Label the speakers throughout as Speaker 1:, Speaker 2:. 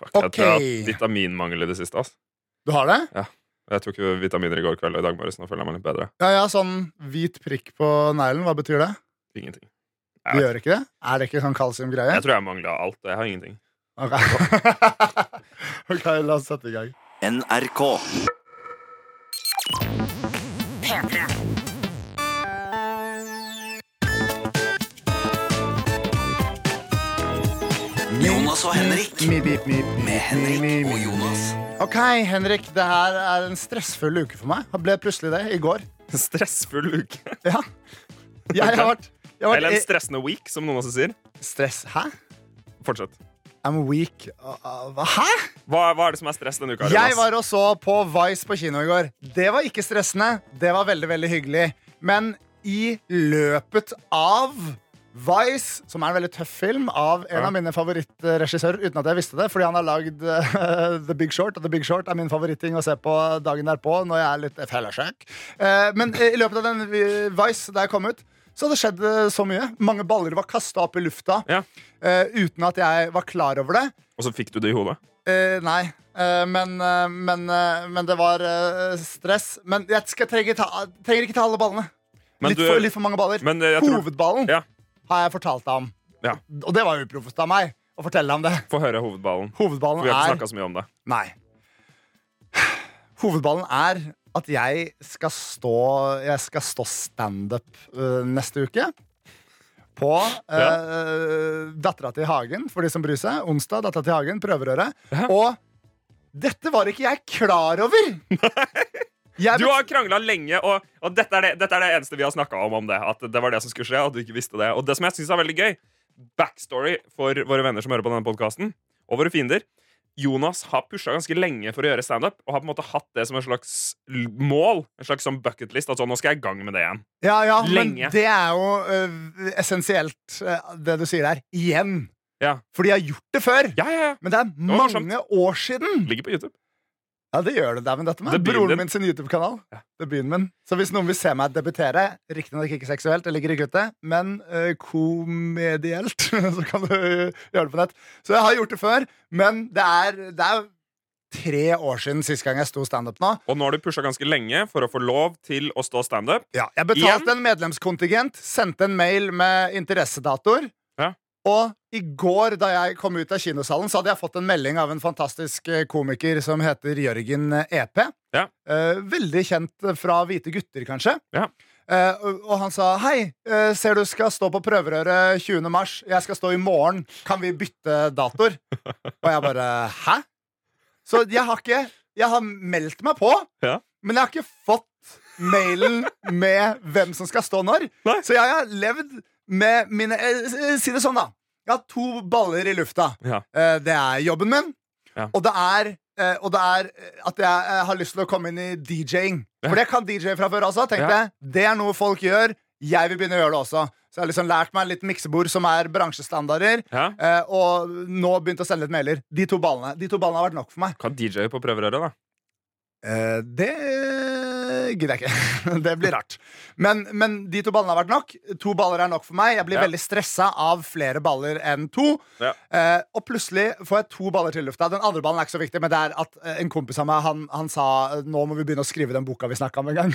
Speaker 1: Fuck, Jeg tror jeg har
Speaker 2: Ok.
Speaker 1: hatt vitaminmangel i det siste. ass
Speaker 2: Du har det?
Speaker 1: Jeg tok jo vitaminer i går kveld og i dag morges. Nå føler jeg meg litt bedre.
Speaker 2: Ja, ja, sånn hvit prikk på neglen, hva betyr det?
Speaker 1: Ingenting.
Speaker 2: Du
Speaker 1: Jeg, vet
Speaker 2: gjør ikke det? Er det ikke sånn kalsiumgreie?
Speaker 1: jeg tror jeg mangla alt. og Jeg har ingenting.
Speaker 2: Ok. ok, la oss sette i gang.
Speaker 3: NRK. Jonas og Henrik.
Speaker 2: Mip, mip, mip, mip,
Speaker 3: Med
Speaker 2: mip,
Speaker 3: Henrik
Speaker 2: mip.
Speaker 3: og Jonas.
Speaker 2: Ok, Henrik, det her er en stressfull uke for meg. Det ble plutselig det i går.
Speaker 1: Stressfull uke.
Speaker 2: Ja. Jeg har vært, jeg har
Speaker 1: Eller en
Speaker 2: vært
Speaker 1: stressende week, som noen også sier.
Speaker 2: Stress? Hæ?
Speaker 1: Fortsett.
Speaker 2: I'm weak. Uh, uh, hva- Hæ?
Speaker 1: Hva, hva er det som er stress denne uka?
Speaker 2: Jeg
Speaker 1: Jonas?
Speaker 2: var og så på Vice på kino i går. Det var ikke stressende. Det var veldig, veldig hyggelig. Men i løpet av Vice, som er en veldig tøff film av en
Speaker 1: Ja.
Speaker 2: av mine favorittregissører, uten at jeg visste det, fordi han har lagd eh, The Big Short, og The Big Short er min favoritting å se på dagen derpå når jeg er litt fellesjekk. men eh, i løpet av den eh, Vice der jeg kom ut, så hadde det skjedd eh, så mye. Mange baller var kasta opp i lufta
Speaker 1: Ja.
Speaker 2: eh, uten at jeg var klar over det.
Speaker 1: Og så fikk du det i hodet?
Speaker 2: Eh, nei. Eh, men, eh, men, eh, men det var eh, stress. Men jeg skal trenger, ta, trenger ikke ta alle ballene.
Speaker 1: Men
Speaker 2: Litt,
Speaker 1: du-
Speaker 2: for, litt for mange baller.
Speaker 1: Men eh, jeg tror
Speaker 2: Hovedballen
Speaker 1: Ja.
Speaker 2: har jeg fortalt deg om.
Speaker 1: Ja.
Speaker 2: Og det var uproffest av meg å fortelle deg om det.
Speaker 1: Få høre hovedballen. For
Speaker 2: Hovedballen
Speaker 1: vi har ikke
Speaker 2: er
Speaker 1: snakka så mye om det.
Speaker 2: Nei. Hovedballen er at jeg skal stå Jeg skal stå standup uh, neste uke. På uh, Dattera til Hagen, for de som bryr seg. Onsdag, Dattera til Hagen, prøverøret. Og dette var ikke jeg klar over! Jeg
Speaker 1: Du har krangla lenge, og, og dette, er det, dette er det eneste vi har snakka om om det. At det var det som skulle skje, og at du ikke visste det. Og det som jeg synes er veldig gøy, backstory for våre venner som hører på denne podkasten, og våre fiender Jonas har pusha ganske lenge for å gjøre standup, og har på en måte hatt det som en slags l- mål. En slags sånn bucketlist. Altså, nå skal jeg i gang med det igjen.
Speaker 2: ja, ja, men
Speaker 1: lenge.
Speaker 2: det er jo uh, essensielt, uh, det du sier der. Igjen.
Speaker 1: Ja.
Speaker 2: Fordi jeg har gjort det før.
Speaker 1: Ja, ja, ja.
Speaker 2: Men det er
Speaker 1: var morsomt.
Speaker 2: mange år siden.
Speaker 1: Ligger på YouTube.
Speaker 2: Ja, det gjør det. Dæven, dette med
Speaker 1: Det er byen
Speaker 2: broren
Speaker 1: din.
Speaker 2: min sin YouTube-kanal.
Speaker 1: Ja.
Speaker 2: Det er byen min. Så hvis noen vil se meg debutere, riktignok ikke seksuelt, jeg ligger i kuttet, men eh, komedielt, så kan du gjøre det på nett. Så jeg har gjort det før, men det er, det er tre år siden sist gang jeg sto standup nå.
Speaker 1: Og nå har du pusha ganske lenge for å få lov til å stå standup.
Speaker 2: Ja, jeg betalte en medlemskontingent, sendte en mail med interessedatoer.
Speaker 1: Ja.
Speaker 2: Og i går, da jeg kom ut av kinosalen, så hadde jeg fått en melding av en fantastisk eh, komiker som heter Jørgen EP.
Speaker 1: Ja.
Speaker 2: Eh, veldig kjent fra Hvite gutter, kanskje.
Speaker 1: Ja.
Speaker 2: Eh, og- og han sa hei, eh, ser du skal stå på prøverøret 20. mars. Jeg skal stå i morgen. Kan vi bytte datoer? og jeg bare hæ? Så jeg har ikke Jeg har meldt meg på. Men jeg har ikke fått mailen med hvem som skal stå når.
Speaker 1: Nei.
Speaker 2: Så jeg har levd med mine eh, Si det sånn, da. Jeg har to baller i lufta.
Speaker 1: Ja.
Speaker 2: Eh, Det er jobben min,
Speaker 1: Ja.
Speaker 2: og det er eh, og det er eh, at jeg eh, har lyst til å komme inn i DJ-ing.
Speaker 1: Ja.
Speaker 2: For jeg kan DJ fra før også. tenkte
Speaker 1: Ja.
Speaker 2: jeg Det er noe folk gjør. Jeg vil begynne å gjøre det også. Så jeg har liksom lært meg litt miksebord som er bransjestandarder.
Speaker 1: Ja.
Speaker 2: eh, Og nå begynt å sende litt mailer. De to ballene De to ballene har vært nok for meg.
Speaker 1: Kan DJ på prøverøret, da.
Speaker 2: Eh, det gidder jeg ikke. det blir rart. Men, men de to ballene har vært nok. To baller er nok for meg. Jeg blir
Speaker 1: Ja.
Speaker 2: veldig stressa av flere baller enn to.
Speaker 1: Ja.
Speaker 2: Eh, og plutselig får jeg to baller til i lufta. Den andre ballen er ikke så viktig, men det er at eh, en kompis av meg Han, han sa nå må vi begynne å skrive den boka vi snakka om en gang.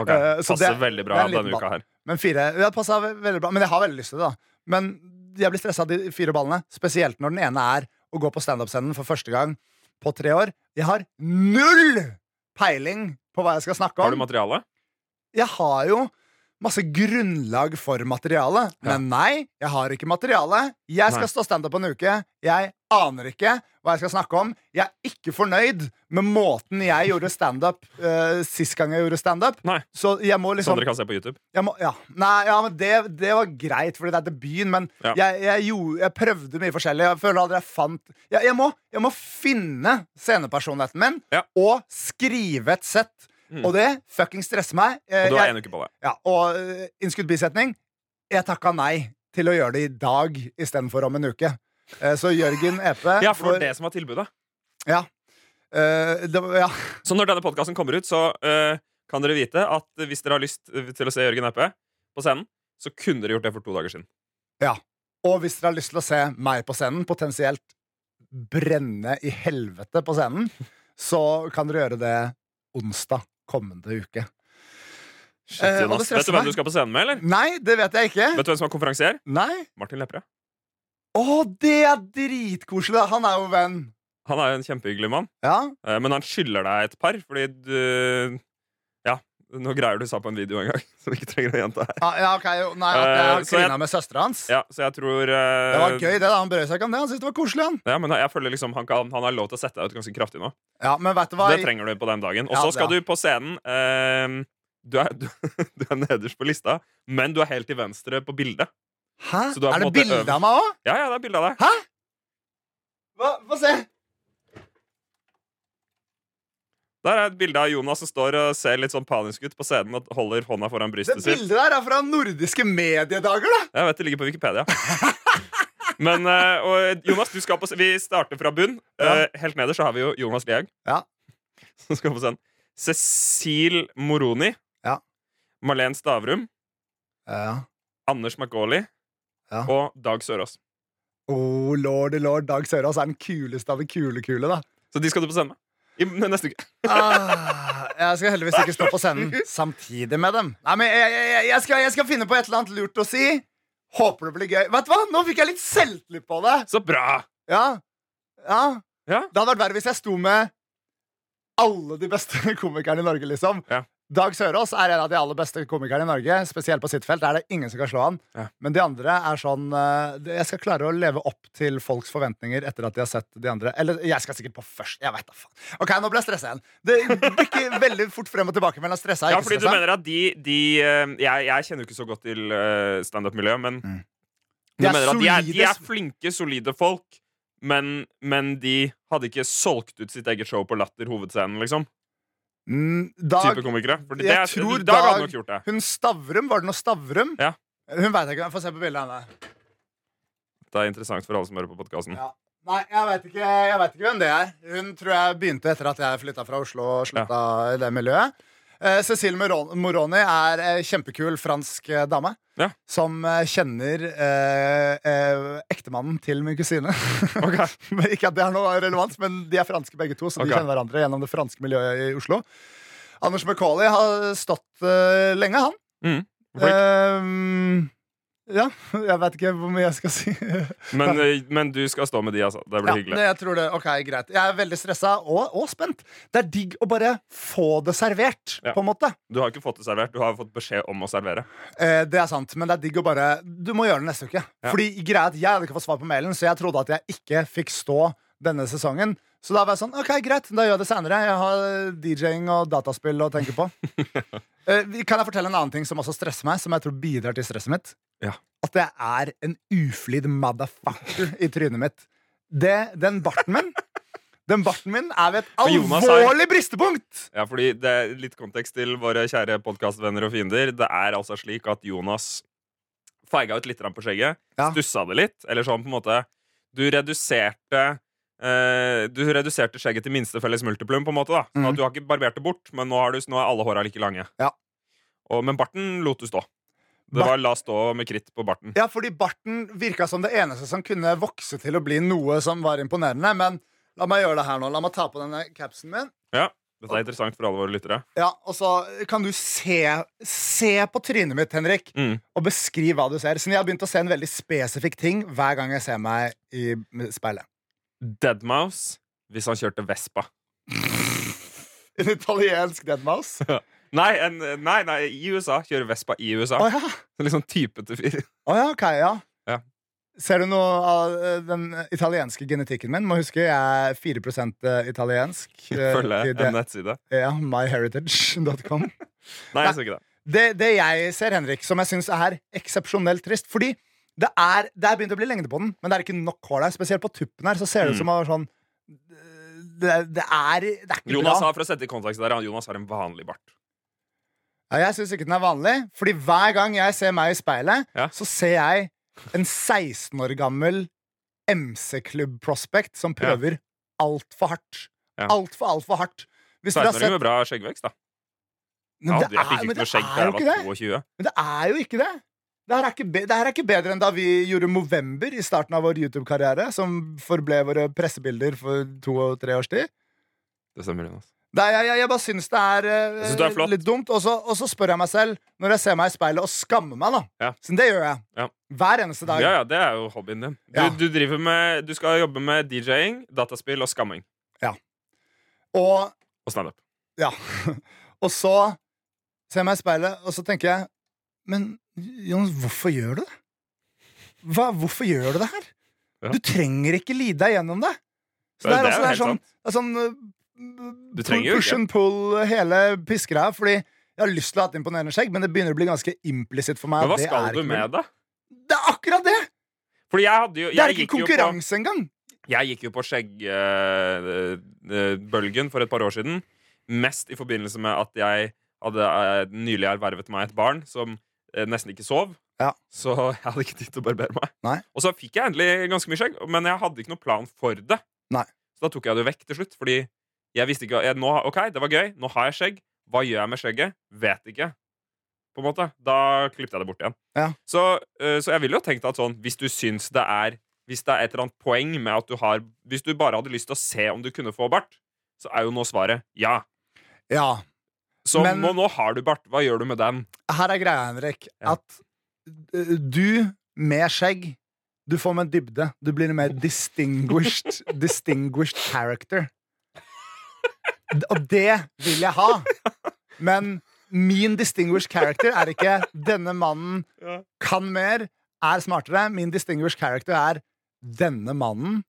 Speaker 1: Ok,
Speaker 2: Eh, så
Speaker 1: Passer
Speaker 2: det-
Speaker 1: veldig
Speaker 2: det
Speaker 1: bra
Speaker 2: er en liten
Speaker 1: denne uka her.
Speaker 2: Men fire ja, det passet ve- veldig bra. Men jeg har veldig lyst til det, da. Men jeg blir stressa av de fire ballene, spesielt når den ene er å gå på standup-scenen for første gang på tre år. Jeg har null peiling på hva jeg skal snakke om.
Speaker 1: Har du materiale?
Speaker 2: jeg har jo masse grunnlag for materialet.
Speaker 1: Ja.
Speaker 2: Men nei, jeg har ikke materiale. Jeg skal
Speaker 1: Nei.
Speaker 2: stå standup på en uke. Jeg aner ikke hva jeg skal snakke om. Jeg er ikke fornøyd med måten jeg gjorde standup uh, sist gang jeg gjorde standup.
Speaker 1: Nei.
Speaker 2: Så jeg må
Speaker 1: Sånn
Speaker 2: liksom
Speaker 1: dere kan se på YouTube?
Speaker 2: jeg må, ja. Nei, ja, men det, det var greit, fordi det er debuten, men
Speaker 1: Ja.
Speaker 2: jeg, jeg, gjorde- jeg prøvde mye forskjellig. Jeg føler aldri jeg fant Jeg, jeg, må, jeg må finne scenepersonligheten min
Speaker 1: Ja.
Speaker 2: og skrive et sett.
Speaker 1: Mm.
Speaker 2: Og det fucking stresser meg. Eh,
Speaker 1: Og du har
Speaker 2: jeg-
Speaker 1: én uke på deg.
Speaker 2: ja, og eh, innskudd bisetning Jeg takka nei til å gjøre det i dag Istedenfor om en uke Eh, Så Jørgen Epe
Speaker 1: Ja, for det
Speaker 2: får-
Speaker 1: var det som var tilbudet.
Speaker 2: ja. Eh, det var- ja.
Speaker 1: Så når denne podkasten kommer ut, så eh, kan dere vite at hvis dere har lyst eh, til å se Jørgen Eppe på scenen, så kunne dere gjort det for to dager siden.
Speaker 2: Og hvis dere har lyst til å se meg på scenen Potensielt brenne i helvete på scenen, så kan dere gjøre det onsdag kommende uke.
Speaker 1: Shit,
Speaker 2: Eh, og
Speaker 1: Jonas.
Speaker 2: det stresser
Speaker 1: Vet du hvem
Speaker 2: meg.
Speaker 1: du skal på scenen med, eller?
Speaker 2: Nei, det vet jeg ikke.
Speaker 1: Vet du hvem som er konferansier?
Speaker 2: Nei?
Speaker 1: Martin Lepperød.
Speaker 2: Å, det er dritkoselig! da. Han er jo venn.
Speaker 1: Han er jo en kjempehyggelig mann,
Speaker 2: Ja,
Speaker 1: eh, men han skylder deg et par, fordi du Ja, nå greier du sa på en video en gang, så vi ikke trenger å gjenta her.
Speaker 2: ja, Ah, ja ok. jo, Nei, at jeg
Speaker 1: Eh,
Speaker 2: har
Speaker 1: så jeg-
Speaker 2: klina med søstera hans.
Speaker 1: Ja, så jeg tror
Speaker 2: Det var
Speaker 1: eh,
Speaker 2: gøy, det. da, Han brød seg ikke om det. Han syntes det var koselig, han.
Speaker 1: Ja, men jeg føler liksom han, kan, han har lov til å sette deg ut ganske kraftig nå.
Speaker 2: Ja, men vet du hva?
Speaker 1: Det trenger du på den dagen. Og
Speaker 2: Ja,
Speaker 1: så
Speaker 2: det
Speaker 1: skal
Speaker 2: er.
Speaker 1: du på scenen. eh, du, er, du, du er nederst på lista, men du er helt til venstre på bildet.
Speaker 2: Hæ?
Speaker 1: Så du har på
Speaker 2: Er det
Speaker 1: en måte
Speaker 2: bilde
Speaker 1: øvd.
Speaker 2: av meg òg?
Speaker 1: Ja, ja, det er bilde av deg.
Speaker 2: Hæ? Hva? Få se.
Speaker 1: Der er et bilde av Jonas som står og ser litt sånn panisk ut på scenen og holder hånda foran
Speaker 2: Det
Speaker 1: brystet sitt.
Speaker 2: bildet der er fra nordiske mediedager, da.
Speaker 1: Jeg vet det ligger på Wikipedia. Men eh, og Jonas, du skal på s- vi starter fra bunn. Eh, helt nederst så har vi jo Jonas Lihaug.
Speaker 2: Ja.
Speaker 1: Som skal på scenen. Cecil Moroni.
Speaker 2: Ja.
Speaker 1: Malen Stavrum.
Speaker 2: Ja.
Speaker 1: Anders McGauley.
Speaker 2: Ja.
Speaker 1: Og Dag Sørås.
Speaker 2: Oh, lordy lord, Dag Sørås er den kuleste av de kule kule, da.
Speaker 1: Så de skal du på scenen med. I neste uke.
Speaker 2: Ah, jeg skal heldigvis ikke stå på scenen samtidig med dem. Nei, men jeg, jeg, jeg, skal, jeg skal finne på et eller annet lurt å si. Håper det blir gøy. Vet du hva? Nå fikk jeg litt selvtillit på det.
Speaker 1: Så bra!
Speaker 2: Ja. ja.
Speaker 1: Ja.
Speaker 2: Det hadde vært verre hvis jeg sto med alle de beste komikerne i Norge, liksom.
Speaker 1: Ja.
Speaker 2: Dag Sørås er en av de aller beste komikerne i Norge. Spesielt på sitt felt. Der er det ingen som kan slå han.
Speaker 1: Ja.
Speaker 2: Men de andre er sånn eh, Jeg skal klare å leve opp til folks forventninger etter at de har sett de andre. Eller jeg skal sikkert på først. Jeg vet da faen. Ok, nå ble jeg stressa igjen. Det bikker veldig fort frem og tilbake mellom stressa og
Speaker 1: Ja,
Speaker 2: ikke
Speaker 1: fordi du
Speaker 2: stressa.
Speaker 1: mener at de, de eh, jeg, jeg kjenner jo ikke så godt til eh, standup-miljøet, men
Speaker 2: Mm.
Speaker 1: du
Speaker 2: De er
Speaker 1: mener at de er, de
Speaker 2: solide-
Speaker 1: er flinke, solide folk, men, men de hadde ikke solgt ut sitt eget show på Latter hovedscenen, liksom?
Speaker 2: Mm, Dag
Speaker 1: Type komikere. For det,
Speaker 2: jeg
Speaker 1: er-
Speaker 2: tror
Speaker 1: Dag hadde
Speaker 2: Dag-
Speaker 1: nok gjort det.
Speaker 2: Hun Stavrum, var det noe Stavrum?
Speaker 1: Ja.
Speaker 2: Hun veit ikke. Få se på bildet av henne.
Speaker 1: Det er interessant for alle som hører på podkasten.
Speaker 2: Ja. Nei, jeg veit ikke, jeg vet ikke hvem det er. Hun tror jeg begynte etter at jeg flytta fra Oslo og slutta i det miljøet. Eh, Cecilie Moron- Moroni er eh, kjempekul fransk eh, dame
Speaker 1: Ja.
Speaker 2: som eh, kjenner eh, eh, ektemannen til min kusine.
Speaker 1: Ok.
Speaker 2: Men ikke at det er noe relevant, men de er franske begge to, så
Speaker 1: Ok.
Speaker 2: de kjenner hverandre gjennom det franske miljøet i Oslo. Anders McCauley har stått eh, lenge, han.
Speaker 1: Mm, flink. Mm.
Speaker 2: Ehm, ja, jeg veit ikke hvor mye jeg skal si.
Speaker 1: Men, eh, men du skal stå med de, altså. Det blir
Speaker 2: Ja,
Speaker 1: hyggelig.
Speaker 2: det, jeg tror det. Ok, greit. Jeg er veldig stressa og, og spent. Det er digg å bare få det servert,
Speaker 1: Ja.
Speaker 2: på en måte.
Speaker 1: Du har ikke fått det servert. Du har fått beskjed om å servere.
Speaker 2: Eh, det er sant, men det er digg å bare Du må gjøre det neste uke.
Speaker 1: Ja.
Speaker 2: Fordi greia er at Jeg hadde ikke fått svar på mailen, så jeg trodde at jeg ikke fikk stå denne sesongen. Så da var jeg sånn OK, greit, da gjør jeg det seinere. Jeg har DJ-ing og dataspill å tenke på. eh, vi- kan jeg fortelle en annen ting som også stresser meg, som jeg tror bidrar til stresset mitt?
Speaker 1: Ja.
Speaker 2: At jeg er en uflidd motherfucker i trynet mitt. Det, den barten min Den barten min er ved et
Speaker 1: Jonas har-
Speaker 2: alvorlig bristepunkt!
Speaker 1: Ja, fordi det er Litt kontekst til våre kjære podkastvenner og fiender. Det er altså slik at Jonas feiga ut litt grann på skjegget.
Speaker 2: Ja.
Speaker 1: Stussa det litt. Eller sånn på en måte Du reduserte eh, Du reduserte skjegget til minste felles multiplum, på en måte. da Sånn
Speaker 2: Mhm.
Speaker 1: at Du har ikke barbert det bort, men nå, har du, nå er alle håra like lange.
Speaker 2: Ja.
Speaker 1: Og, men barten lot du stå. Det
Speaker 2: Bart-
Speaker 1: var la stå med kritt på barten.
Speaker 2: Ja, fordi barten virka som det eneste som kunne vokse til å bli noe som var imponerende. Men la meg gjøre det her nå. La meg ta på denne capsen min.
Speaker 1: Ja, Dette er interessant for alle våre lyttere.
Speaker 2: Ja, Og så kan du se, se på trynet mitt, Henrik,
Speaker 1: Mm.
Speaker 2: og beskrive hva du ser. Siden jeg har begynt å se en veldig spesifikk ting hver gang jeg ser meg i speilet.
Speaker 1: Deadmouse hvis han kjørte Vespa.
Speaker 2: En italiensk deadmouse.
Speaker 1: Nei, en, nei, nei, i USA. Kjører Vespa i USA.
Speaker 2: Å ja.
Speaker 1: Litt sånn typete fyr.
Speaker 2: Å ja, ok, ja.
Speaker 1: Ja.
Speaker 2: Ser du noe av eh, den italienske genetikken min? Må huske jeg er 4 italiensk. eh,
Speaker 1: Følge
Speaker 2: i
Speaker 1: en
Speaker 2: det-
Speaker 1: nettside.
Speaker 2: Ja, myheritage.com.
Speaker 1: Nei, jeg ser ikke det.
Speaker 2: det, det jeg ser, Henrik, som jeg syns er eksepsjonelt trist Fordi det er, det er begynt å bli lengde på den, men det er ikke nok hår der. Spesielt på tuppen her så ser det
Speaker 1: Mm.
Speaker 2: ut som om det er sånn det, det, er, det er ikke
Speaker 1: Jonas
Speaker 2: bra.
Speaker 1: har, for å sette i kontekst der, han- Jonas har en vanlig bart.
Speaker 2: Ja, jeg syns ikke den er vanlig, Fordi hver gang jeg ser meg i speilet,
Speaker 1: Ja.
Speaker 2: så ser jeg en 16 år gammel MC-klubb-prospect som prøver altfor hardt.
Speaker 1: Ja.
Speaker 2: Altfor, altfor hardt. Hvis dere har
Speaker 1: 16-åring
Speaker 2: sett
Speaker 1: med bra skjeggvekst, da. Jeg
Speaker 2: Men det
Speaker 1: hadde- jeg fikk
Speaker 2: er,
Speaker 1: ikke
Speaker 2: men
Speaker 1: noe
Speaker 2: det
Speaker 1: skjegg da
Speaker 2: er
Speaker 1: jeg
Speaker 2: jo
Speaker 1: var
Speaker 2: ikke det!
Speaker 1: 22.
Speaker 2: Men det er jo ikke det! Det her, er ikke be det her er ikke bedre enn da vi gjorde Movember i starten av vår YouTube-karriere, som forble våre pressebilder for to og tre års tid.
Speaker 1: Det stemmer, Jonas.
Speaker 2: Det er, jeg, jeg, jeg bare syns det er, eh,
Speaker 1: Jeg synes det er flott.
Speaker 2: litt dumt. Og så, og så spør jeg meg selv, når jeg ser meg i speilet, og skammer meg, da.
Speaker 1: Ja.
Speaker 2: Så det gjør jeg.
Speaker 1: Ja.
Speaker 2: Hver eneste dag.
Speaker 1: Ja, ja, det er jo hobbyen din. Du,
Speaker 2: Ja.
Speaker 1: du, driver med, du skal jobbe med DJ-ing, dataspill og skamming.
Speaker 2: Og
Speaker 1: Og standup.
Speaker 2: Ja. Og så ser jeg meg i speilet, og så tenker jeg Men Jonas, hvorfor gjør du det? Hva, hvorfor gjør du det her?
Speaker 1: Ja.
Speaker 2: Du trenger ikke lide deg gjennom det. Så det
Speaker 1: Det er-
Speaker 2: er,
Speaker 1: det er
Speaker 2: også,
Speaker 1: jo
Speaker 2: det er
Speaker 1: helt
Speaker 2: sånn,
Speaker 1: sant.
Speaker 2: det er sånn
Speaker 1: Du
Speaker 2: eh,
Speaker 1: trenger jo
Speaker 2: push
Speaker 1: ikke.
Speaker 2: and pull, hele pissgreia. Fordi jeg har lyst til å ha et imponerende skjegg, men det begynner å bli ganske implisitt for meg.
Speaker 1: Men hva
Speaker 2: at det
Speaker 1: skal
Speaker 2: er
Speaker 1: du
Speaker 2: ikke mulig.
Speaker 1: med det?
Speaker 2: Det er akkurat det!
Speaker 1: Fordi jeg hadde jo
Speaker 2: Det er
Speaker 1: Jeg,
Speaker 2: ikke
Speaker 1: gikk jo, på,
Speaker 2: konkurranse engang.
Speaker 1: jeg gikk jo på skjeggbølgen for et par år siden. Mest i forbindelse med at jeg hadde eh, nylig ervervet meg et barn som eh, nesten ikke sov.
Speaker 2: Ja.
Speaker 1: Så jeg hadde ikke tid til å barbere meg.
Speaker 2: Nei.
Speaker 1: Og så fikk jeg endelig ganske mye skjegg, men jeg hadde ikke noen plan for det.
Speaker 2: Nei.
Speaker 1: Så da tok jeg det vekk til slutt, fordi jeg visste ikke jeg, nå, OK, det var gøy, nå har jeg skjegg. Hva gjør jeg med skjegget? Vet ikke. På en måte. Da klippet jeg det bort igjen.
Speaker 2: Ja.
Speaker 1: Så, eh, så jeg ville jo tenkt at sånn, hvis du syns det er Hvis det er et eller annet poeng med at du har Hvis du bare hadde lyst til å se om du kunne få bart, så er jo nå svaret ja.
Speaker 2: Ja.
Speaker 1: Så
Speaker 2: Men-
Speaker 1: nå, nå har du bart. Hva gjør du med den?
Speaker 2: Her er greia, Henrik,
Speaker 1: Ja.
Speaker 2: at eh, du med skjegg Du får mer dybde. Du blir en mer distinguished, distinguished character. D- Og det vil jeg ha. Men min distinguished character er ikke 'denne mannen
Speaker 1: Ja.
Speaker 2: kan mer, er smartere'. Min distinguished character er 'denne mannen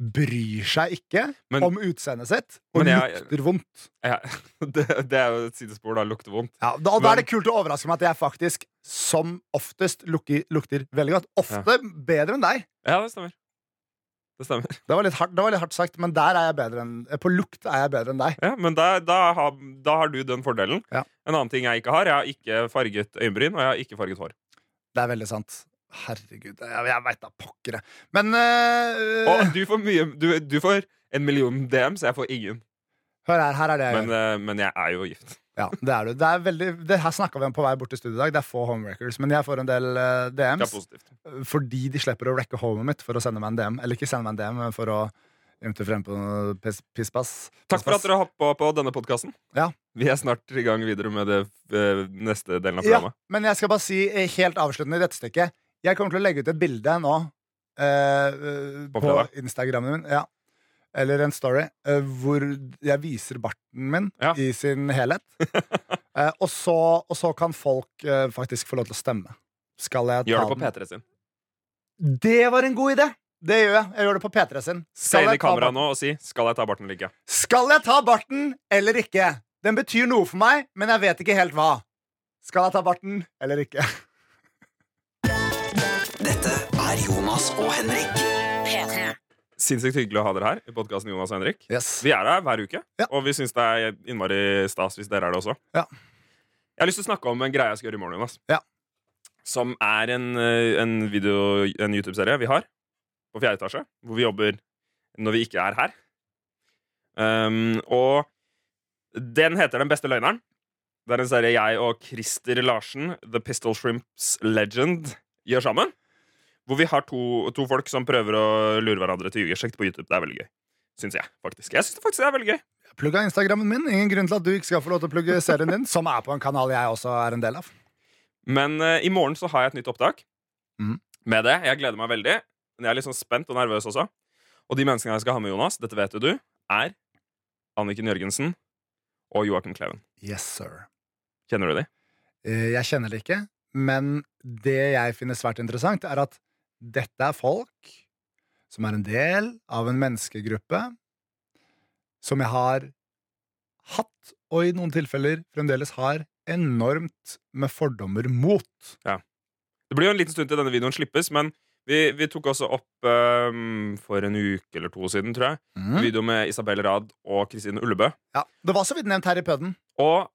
Speaker 2: bryr seg ikke
Speaker 1: Men-
Speaker 2: om utseendet sitt og
Speaker 1: Men jeg-
Speaker 2: lukter vondt'.
Speaker 1: Ja, det, det er jo et sidespor. Da lukter vondt.
Speaker 2: Ja, da, og da
Speaker 1: Men-
Speaker 2: er det kult å overraske meg at jeg faktisk som oftest lukker, lukter veldig godt. Ofte bedre enn deg.
Speaker 1: Ja, det stemmer. Det stemmer.
Speaker 2: Det var, litt hardt, det var litt hardt sagt, men der er jeg bedre enn, eh, på lukt er jeg bedre enn deg.
Speaker 1: Ja, men da, da, har, da har du den fordelen.
Speaker 2: Ja.
Speaker 1: En annen ting jeg ikke har, jeg har ikke farget øyenbryn, og jeg har ikke farget hår.
Speaker 2: Det er veldig sant. Herregud, jeg, jeg veit da pokker, jeg. Men eh,
Speaker 1: Og du får mye Du, du får en million DMs, jeg får ingen.
Speaker 2: hør her, her er det jeg
Speaker 1: Men,
Speaker 2: gjør.
Speaker 1: eh, men jeg er jo gift.
Speaker 2: Ja, det er du. Det, er veldig, det her snakka vi om på vei bort til studio i dag. Det er få homewreckers, men jeg får en del eh,
Speaker 1: Det er
Speaker 2: DMs
Speaker 1: positivt.
Speaker 2: fordi de slipper å wrecke homet mitt for å sende meg en DM. Eller ikke sende meg en DM, men for å ymte frem på noe piss, pisspass.
Speaker 1: Takk for at dere har hoppa på denne podkasten.
Speaker 2: Ja.
Speaker 1: Vi er snart i gang videre med det eh, neste delen av
Speaker 2: Ja,
Speaker 1: programmet.
Speaker 2: men jeg skal bare si eh, helt avsluttende i dette stykket Jeg kommer til å legge ut et bilde nå eh, eh,
Speaker 1: På
Speaker 2: På,
Speaker 1: fredag?
Speaker 2: Instagramen min ja. Eller en story eh, Hvor jeg viser barten min
Speaker 1: Ja.
Speaker 2: I sin helhet eh, og, så, og så kan folk eh, faktisk få lov til å stemme Skal jeg ta
Speaker 1: Gjør det på
Speaker 2: den?
Speaker 1: P3 sin.
Speaker 2: Det var en god idé Det gjør jeg, jeg gjør det på P3 sin
Speaker 1: Se inn i
Speaker 2: jeg ta
Speaker 1: kameraet
Speaker 2: barten?
Speaker 1: nå og si 'Skal jeg ta barten eller ikke?'
Speaker 2: Skal jeg ta barten eller ikke? Den betyr noe for meg, men jeg vet ikke helt hva Skal jeg ta barten eller ikke?
Speaker 3: Dette er Jonas og Henrik.
Speaker 4: P3.
Speaker 1: Sinnssykt hyggelig å ha dere her i podkasten Jonas og Henrik.
Speaker 2: Yes
Speaker 1: Vi er her hver uke,
Speaker 2: Ja.
Speaker 1: og vi syns det er innmari stas hvis dere er det også.
Speaker 2: Ja.
Speaker 1: Jeg har lyst til å snakke om en greie jeg skal gjøre i morgen. Jonas.
Speaker 2: Ja.
Speaker 1: Som er en, eh, en, video- en YouTube-serie vi har på fjerde etasje, hvor vi jobber når vi ikke er her. Um, og den heter Den beste løgneren. Det er en serie jeg og Christer Larsen, The Pistol Shrimps Legend, gjør sammen. Hvor vi har to, to folk som prøver å lure hverandre til ljugesjekt på YouTube. Det er veldig gøy syns jeg. faktisk. Jeg synes det faktisk er veldig gøy.
Speaker 2: Plugga Instagrammen min. Ingen grunn til at du ikke skal få lov til å plugge serien din, som er på en kanal jeg også er en del av.
Speaker 1: Men eh, i morgen så har jeg et nytt opptak
Speaker 2: Mhm.
Speaker 1: med det. Jeg gleder meg veldig. Men jeg er litt sånn spent og nervøs også. Og de menneskene jeg skal ha med, Jonas, dette vet jo du, er Anniken Jørgensen og Joakim Kleven.
Speaker 2: Yes, sir.
Speaker 1: Kjenner du de?
Speaker 2: Eh, Jeg kjenner det ikke, men det jeg finner svært interessant, er at dette er folk som er en del av en menneskegruppe som jeg har hatt, og i noen tilfeller fremdeles har, enormt med fordommer mot.
Speaker 1: Det blir jo en liten stund til denne videoen slippes, men vi, vi tok også opp eh, for en uke eller to siden, tror jeg,
Speaker 2: Mhm.
Speaker 1: en
Speaker 2: Mm.
Speaker 1: video med Isabel Rad og Kristine Ullebø.
Speaker 2: Ja, det var så vidt nevnt her i pøden.
Speaker 1: Og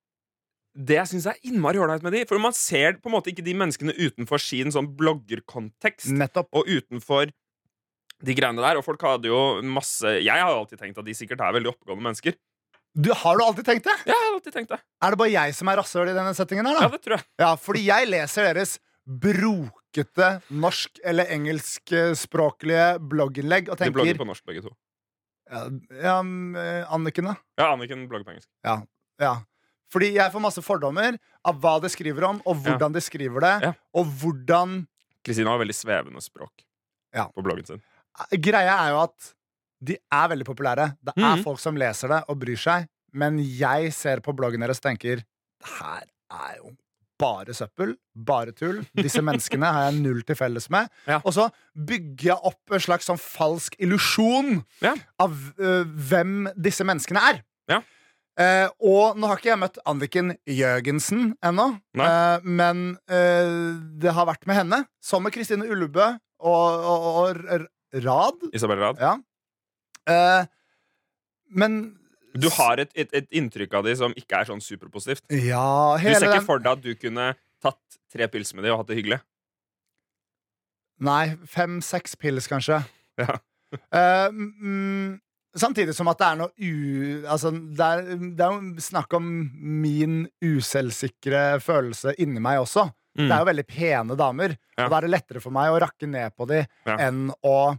Speaker 1: det jeg syns er innmari ålreit med de, for man ser på en måte ikke de menneskene utenfor sin sånn bloggerkontekst.
Speaker 2: Nettopp.
Speaker 1: og utenfor de greiene der. Og folk hadde jo masse Jeg har alltid tenkt at de sikkert er veldig oppegående mennesker.
Speaker 2: Du, har du alltid tenkt det?
Speaker 1: Ja, jeg har alltid tenkt det.
Speaker 2: Er det bare jeg som er rasshøl i denne settingen her, da?
Speaker 1: Ja, det tror jeg.
Speaker 2: Ja, fordi jeg leser deres brokete norsk- eller engelskspråklige blogginnlegg og
Speaker 1: De blogger
Speaker 2: tenker
Speaker 1: på norsk, begge to.
Speaker 2: ja, ja, mm, eh, Anniken, da?
Speaker 1: Ja, Anniken blogger på engelsk.
Speaker 2: Ja. ja. Fordi jeg får masse fordommer av hva de skriver om, og
Speaker 1: Ja.
Speaker 2: hvordan de skriver det.
Speaker 1: Ja.
Speaker 2: Og hvordan
Speaker 1: Kristina har veldig svevende språk
Speaker 2: Ja.
Speaker 1: på bloggen sin.
Speaker 2: Greia er jo at de er veldig populære. Det er
Speaker 1: Mhm.
Speaker 2: folk som leser det og bryr seg. Men jeg ser på bloggen deres og tenker Det her er jo bare søppel. Bare tull. Disse menneskene har jeg null til felles med.
Speaker 1: Ja.
Speaker 2: Og så bygger jeg opp en slags sånn falsk illusjon
Speaker 1: Ja.
Speaker 2: av øh, hvem disse menneskene er.
Speaker 1: Ja.
Speaker 2: Eh, og nå har ikke jeg møtt Anniken Jørgensen ennå,
Speaker 1: Nei.
Speaker 2: eh, men eh, det har vært med henne, som med Kristine Ullebø og, og, og R- Rad.
Speaker 1: Isabel Rad.
Speaker 2: Ja. Eh, men
Speaker 1: Du har et, et, et inntrykk av de som ikke er sånn superpositivt.
Speaker 2: Ja,
Speaker 1: Du ser ikke
Speaker 2: hele den
Speaker 1: for deg at du kunne tatt tre pils med de og hatt det hyggelig?
Speaker 2: Nei, fem-seks pils, kanskje.
Speaker 1: Ja.
Speaker 2: Eh, mm, samtidig som at det er noe u... Altså, det er, det er jo snakk om min uselvsikre følelse inni meg også. Det er jo veldig pene damer,
Speaker 1: Mm. Ja.
Speaker 2: og da er det lettere for meg å rakke ned på de
Speaker 1: Ja.
Speaker 2: enn å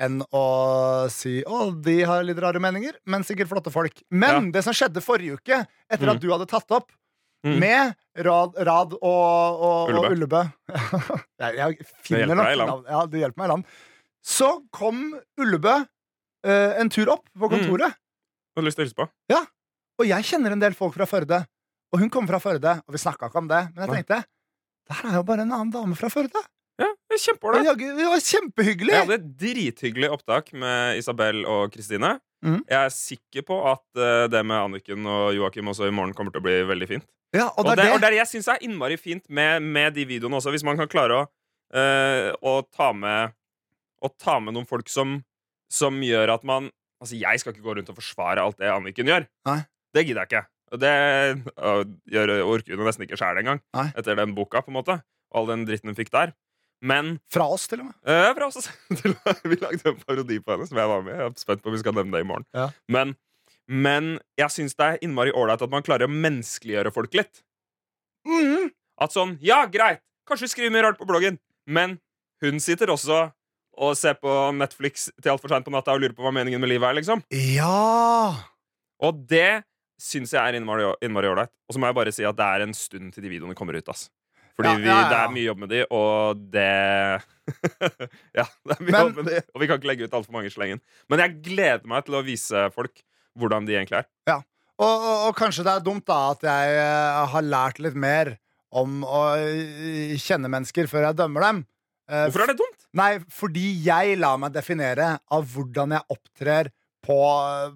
Speaker 2: enn å si 'Å, de har litt rare meninger', men sikkert flotte folk. Men det som skjedde forrige uke, etter
Speaker 1: Mm.
Speaker 2: at du hadde tatt opp
Speaker 1: Mm.
Speaker 2: med Rad, Rad og, og og Ullebø jeg, jeg
Speaker 1: hjelper
Speaker 2: finner
Speaker 1: deg i
Speaker 2: nok
Speaker 1: land.
Speaker 2: navn. Ja, det hjelper meg i land. Så kom Ullebø eh, en tur opp
Speaker 1: Mm.
Speaker 2: på kontoret,
Speaker 1: Har du lyst til å hilse på?
Speaker 2: og jeg kjenner en del folk fra Førde. Og hun kom fra Førde, og vi snakka ikke om det, men jeg
Speaker 1: Nei.
Speaker 2: tenkte det her er jo bare en annen dame fra Førde.
Speaker 1: Ja, det er
Speaker 2: Det
Speaker 1: Kjempeålreit.
Speaker 2: var jaggu- det var kjempehyggelig!
Speaker 1: Jeg hadde et drithyggelig opptak med Isabel og Kristine.
Speaker 2: Mhm.
Speaker 1: Jeg er sikker på at eh, det med Anniken og Joakim også i morgen kommer til å bli veldig fint.
Speaker 2: Ja, og
Speaker 1: Og
Speaker 2: det
Speaker 1: det,
Speaker 2: er
Speaker 1: og
Speaker 2: det.
Speaker 1: det jeg syns er innmari fint med, med de videoene også, hvis man kan klare å, eh, å ta med Å ta med noen folk som, som gjør at man Altså, jeg skal ikke gå rundt og forsvare alt det Anniken gjør.
Speaker 2: Nei.
Speaker 1: Det gidder jeg ikke. Og det øh, gjør, orker hun nesten ikke sjæl engang,
Speaker 2: Nei.
Speaker 1: etter den boka, på en måte. Og all den dritten hun fikk der. Men
Speaker 2: Fra oss, til og med.
Speaker 1: Eh, fra oss til, vi lagde en parodi på henne som jeg var med i. Jeg er spent på om vi skal nevne det i morgen.
Speaker 2: Ja.
Speaker 1: Men, men jeg syns det er innmari ålreit at man klarer å menneskeliggjøre folk litt. At sånn Ja, greit! Kanskje vi skriver mye rart på bloggen, men hun sitter også og ser på Netflix til altfor seint på natta og lurer på hva meningen med livet er, liksom.
Speaker 2: Ja!
Speaker 1: Og det syns jeg er innmari innmari ålreit. Og så må jeg bare si at det er en stund til de videoene kommer ut, ass. Fordi
Speaker 2: Ja, ja, ja,
Speaker 1: Vi, det
Speaker 2: ja.
Speaker 1: er mye jobb med de, og det Ja, det er mye
Speaker 2: Men-
Speaker 1: jobb med de, og vi kan ikke legge ut altfor mange i slengen. Men jeg gleder meg til å vise folk hvordan de egentlig er.
Speaker 2: Og, og, og kanskje det er dumt da at jeg eh, har lært litt mer om å eh, kjenne mennesker før jeg dømmer dem. Eh,
Speaker 1: Hvorfor er det dumt?
Speaker 2: Nei, fordi jeg lar meg definere av hvordan jeg opptrer på,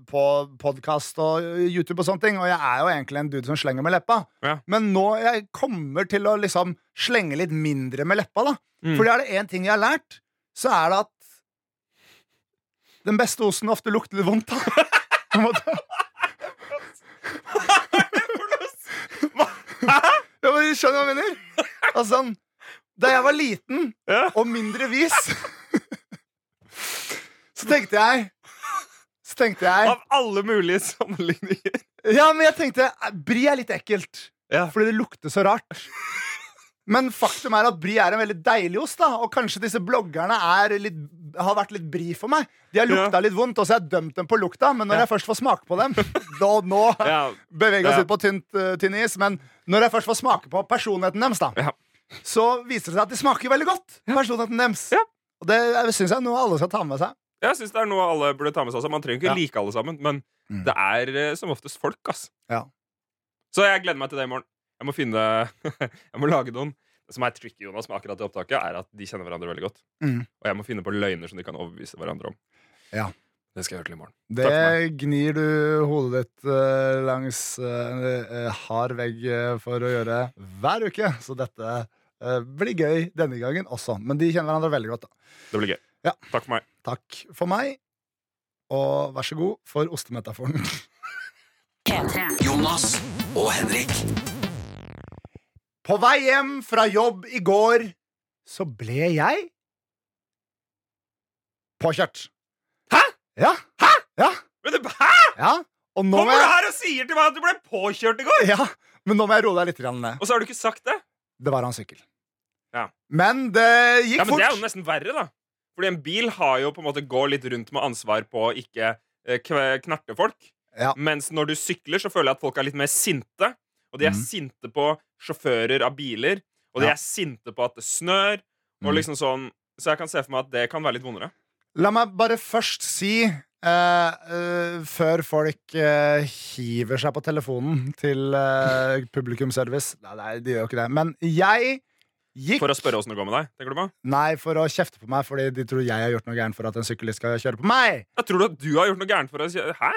Speaker 2: på podkast og YouTube og sånne ting, og jeg er jo egentlig en dude som slenger med leppa.
Speaker 1: Ja.
Speaker 2: Men nå jeg kommer til å liksom slenge litt mindre med leppa, da.
Speaker 1: Mm.
Speaker 2: For er det én ting jeg har lært, så er det at den beste osten ofte lukter litt vondt, da. På en måte. Ja, men du skjønner hva jeg mener? Altså, sånn, da jeg var liten
Speaker 1: Ja.
Speaker 2: og mindre vis, så tenkte jeg Så tenkte jeg
Speaker 1: Av alle mulige sammenligninger.
Speaker 2: Ja, men jeg tenkte Bri er litt ekkelt,
Speaker 1: Ja.
Speaker 2: fordi det lukter så rart. Men faktum er at bri er en veldig deilig ost, da. Og kanskje disse bloggerne er litt, har vært litt bri for meg. De har lukta
Speaker 1: Ja.
Speaker 2: litt vondt, og så har jeg dømt dem på lukta, men når
Speaker 1: Ja.
Speaker 2: jeg først får smake på dem da, Nå
Speaker 1: Ja.
Speaker 2: beveger vi
Speaker 1: Ja.
Speaker 2: oss ut på tynt, eh, tynn is, men når jeg først får smake på personligheten deres, da,
Speaker 1: Ja.
Speaker 2: så viser det seg at de smaker veldig godt. Personligheten deres.
Speaker 1: Ja.
Speaker 2: Og det syns jeg noe alle skal ta med seg.
Speaker 1: Jeg syns det er noe alle burde ta med seg. også. Man trenger ikke
Speaker 2: Ja.
Speaker 1: like alle sammen, men
Speaker 2: Mm.
Speaker 1: det er eh, som oftest folk, ass.
Speaker 2: Ja.
Speaker 1: Så jeg gleder meg til det i morgen. Jeg må finne Jeg må lage noen. Det som er tricky Jonas med akkurat det opptaket, er at de kjenner hverandre veldig godt.
Speaker 2: Mm.
Speaker 1: Og jeg må finne på løgner som de kan overbevise hverandre om.
Speaker 2: Ja.
Speaker 1: Det skal jeg gjøre til i morgen.
Speaker 2: Det
Speaker 1: Takk for
Speaker 2: gnir du hodet ditt eh, langs eh, en eh, hard vegg eh, for å gjøre hver uke, så dette eh, blir gøy denne gangen også. Men de kjenner hverandre veldig godt, da.
Speaker 1: Det blir gøy.
Speaker 2: Ja.
Speaker 1: Takk for meg.
Speaker 2: Takk for meg, og vær så god for ostemetaforen.
Speaker 3: Jonas og Henrik.
Speaker 2: På vei hjem fra jobb i går så ble jeg påkjørt.
Speaker 1: Hæ?
Speaker 2: Ja. Hæ? Ja.
Speaker 1: Men det, hæ?!
Speaker 2: ja. Og nå må
Speaker 1: Kommer du
Speaker 2: jeg,
Speaker 1: her og sier til meg at du ble påkjørt i går?!
Speaker 2: ja. Men nå må jeg roe deg litt grann ned.
Speaker 1: Og så har du ikke sagt det?!
Speaker 2: Det var hans sykkel.
Speaker 1: Ja.
Speaker 2: Men det gikk
Speaker 1: Ja, men det er jo
Speaker 2: fort.
Speaker 1: nesten verre, da. Fordi en bil har jo på en måte går litt rundt med ansvar på å ikke eh, kve- knerte folk.
Speaker 2: Ja.
Speaker 1: Mens når du sykler, så føler jeg at folk er litt mer sinte. Og de er
Speaker 2: Mhm.
Speaker 1: sinte på sjåfører av biler, og de
Speaker 2: Ja.
Speaker 1: er sinte på at det snør. Og
Speaker 2: Mhm.
Speaker 1: liksom sånn Så jeg kan se for meg at det kan være litt vondere.
Speaker 2: La meg bare først si eh, eh, før folk eh, hiver seg på telefonen til eh, publikumsservice Nei, nei, de gjør jo ikke det. Men jeg gikk
Speaker 1: For å spørre åssen det går med deg. tenker du på?
Speaker 2: Nei, for å kjefte på meg fordi de tror jeg har gjort noe gærent for at en syklist skal kjøre på meg.
Speaker 1: Jeg tror du at du har gjort noe gærent for oss? Hæ?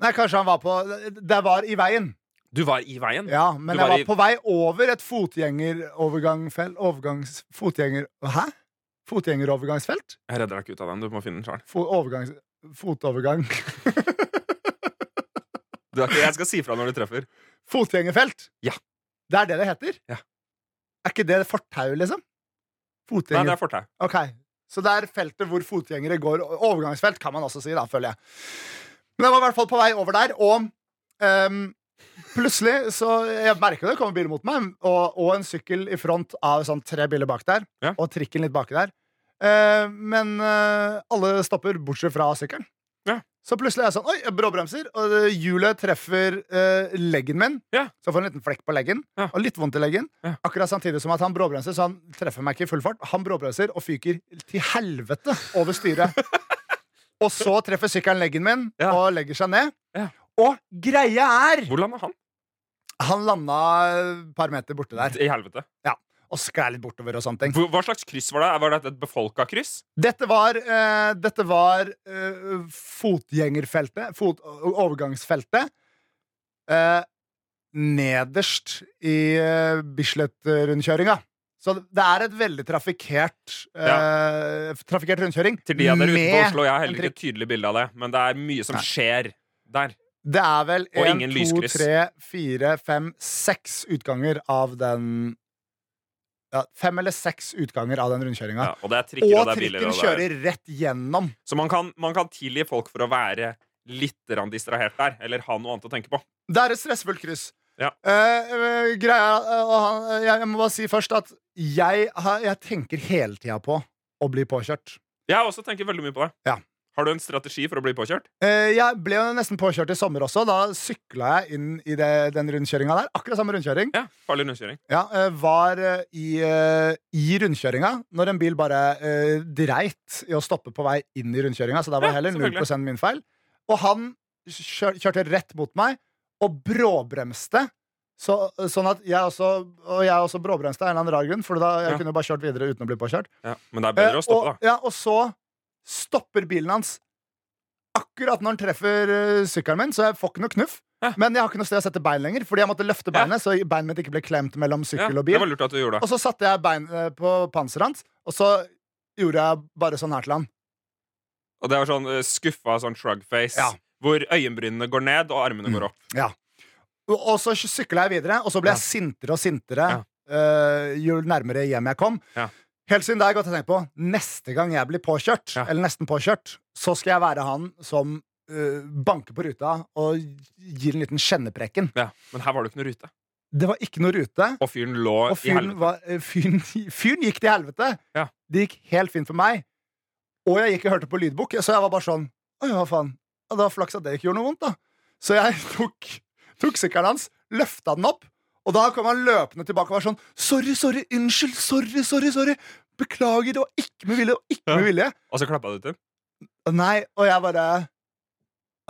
Speaker 2: Nei, kanskje han var på Det var i veien.
Speaker 1: Du var i veien.
Speaker 2: Ja, men
Speaker 1: Du var
Speaker 2: jeg var
Speaker 1: i-
Speaker 2: på vei over et fotgjengerovergangsfelt Overgangs... Fotgjenger... Hæ? Fotgjengerovergangsfelt?
Speaker 1: Jeg redder deg ikke ut av den. Du må finne den sjøl.
Speaker 2: Fo overgangs... Fotovergang
Speaker 1: Jeg skal si fra når du treffer.
Speaker 2: Fotgjengerfelt?
Speaker 1: Ja.
Speaker 2: Det er det det heter?
Speaker 1: Ja.
Speaker 2: Er ikke det fortau, liksom?
Speaker 1: Nei,
Speaker 2: Fotgjenger...
Speaker 1: det er fortau.
Speaker 2: Ok, så det er feltet hvor fotgjengere går Overgangsfelt kan man også si da, føler jeg Men jeg var i hvert fall på vei over der Og ehm, plutselig så Jeg merker det kommer biler mot meg og, og en sykkel i front av sånn tre biler bak der
Speaker 1: Ja.
Speaker 2: Og trikken litt baki der Eh, Men eh, alle stopper bortsett fra sykkelen
Speaker 1: Ja.
Speaker 2: Så plutselig er jeg sånn, oi, jeg bråbremser Og eh, hjulet treffer eh, leggen min
Speaker 1: Ja.
Speaker 2: Så jeg får en liten flekk på leggen
Speaker 1: Ja.
Speaker 2: Og litt vondt i leggen
Speaker 1: Ja.
Speaker 2: Akkurat samtidig som at han bråbremser, så han treffer meg ikke i full fart. Han bråbremser og fyker til helvete over styret. og så treffer sykkelen leggen min
Speaker 1: Ja.
Speaker 2: og legger seg ned.
Speaker 1: Ja.
Speaker 2: Og greia er
Speaker 1: Hvor landa han?
Speaker 2: Han landa et par meter borte der
Speaker 1: I helvete.
Speaker 2: og sklei litt bortover og sånne ting.
Speaker 1: Hvor- Hva slags kryss var det? Var dette et befolka kryss?
Speaker 2: Dette var, eh, dette var eh, fotgjengerfeltet, fot overgangsfeltet, eh, nederst i eh, Bislett-rundkjøringa. Så det er et veldig trafikkert, eh, trafikkert rundkjøring.
Speaker 1: Til de av dere utenfor Oslo, jeg har
Speaker 2: en
Speaker 1: heller ikke et tydelig bilde av det, men det er mye som
Speaker 2: Nei.
Speaker 1: skjer der.
Speaker 2: Det er vel
Speaker 1: Og
Speaker 2: 1,
Speaker 1: ingen
Speaker 2: 2,
Speaker 1: lyskryss.
Speaker 2: 3, 4, 5, 6 utganger av den ja, Fem eller seks utganger av den rundkjøringa.
Speaker 1: Ja, og det er trikker og
Speaker 2: og
Speaker 1: det er biler.
Speaker 2: trikken
Speaker 1: Og det er.
Speaker 2: kjører rett gjennom.
Speaker 1: Så man kan, man kan tilgi folk for å være litt grann distrahert der, eller ha noe annet å tenke på.
Speaker 2: Det er et stressfullt kryss.
Speaker 1: Ja.
Speaker 2: Eh, eh, greia, eh, og han, eh, jeg, jeg må bare si først at jeg, har- jeg tenker hele tida på å bli påkjørt.
Speaker 1: Jeg har også tenker veldig mye på det.
Speaker 2: Ja.
Speaker 1: Har du en strategi for å bli påkjørt?
Speaker 2: Eh, jeg ble jo nesten påkjørt i sommer også. Da sykla jeg inn i det, den rundkjøringa der. Akkurat samme rundkjøring.
Speaker 1: Ja, farlig rundkjøring.
Speaker 2: Ja, eh, var eh, i, eh, i rundkjøringa når en bil bare eh, dreit i å stoppe på vei inn i rundkjøringa. Så det var
Speaker 1: Ja,
Speaker 2: heller
Speaker 1: selvfølgelig.
Speaker 2: 0 min feil. Og han kjør, kjørte rett mot meg og bråbremste. Så, sånn at jeg også, og jeg også bråbremste av en eller annen rar grunn, for da jeg
Speaker 1: Ja.
Speaker 2: kunne bare kjørt videre uten å bli påkjørt.
Speaker 1: Ja, men det er bedre
Speaker 2: Eh,
Speaker 1: å stoppe,
Speaker 2: og, ja, og så stopper bilen hans akkurat når han treffer eh, sykkelen min, så jeg får ikke noe knuff.
Speaker 1: Ja.
Speaker 2: Men jeg har ikke noe sted å sette bein lenger, fordi jeg måtte løfte
Speaker 1: Ja.
Speaker 2: beinet, så beinet mitt ikke ble klemt mellom
Speaker 1: da. Ja,
Speaker 2: sykkel og
Speaker 1: det
Speaker 2: bil.
Speaker 1: var lurt at du gjorde det.
Speaker 2: Og så satte jeg beinet på panseret hans, og så gjorde jeg bare sånn her til han.
Speaker 1: Og det var sånn eh, skuffa sånn shrug-face,
Speaker 2: Ja. Mm.
Speaker 1: hvor øyenbrynene går ned, og armene går opp.
Speaker 2: Og og så sykla jeg videre, og så ble
Speaker 1: Ja.
Speaker 2: jeg sintere og sintere
Speaker 1: Ja.
Speaker 2: eh, jo nærmere hjem jeg kom.
Speaker 1: Ja.
Speaker 2: Helt siden da har jeg gått og tenkt på neste gang jeg blir påkjørt,
Speaker 1: Ja.
Speaker 2: eller nesten påkjørt, så skal jeg være han som eh, banker på ruta og gir en liten kjenneprekken.
Speaker 1: Ja, men her var det ikke noe rute.
Speaker 2: Det var ikke noe rute,
Speaker 1: Og fyren lå
Speaker 2: og
Speaker 1: i
Speaker 2: fyren,
Speaker 1: helvete.
Speaker 2: var, eh, fyren, fyren gikk til helvete.
Speaker 1: Ja.
Speaker 2: Det gikk helt fint for meg. Og jeg gikk og hørte på lydbok, så jeg var bare sånn Oi, hva faen? Ja, det var flaks at det ikke gjorde noe vondt, da. Så jeg tok, tok sykkelen hans, løfta den opp, og da kom han løpende tilbake og var sånn Sorry, sorry, unnskyld, sorry, sorry, sorry. Beklager, det var ikke med vilje, det var ikke
Speaker 1: Ja.
Speaker 2: med vilje.
Speaker 1: Og så klappa du til.
Speaker 2: Og Nei, og jeg bare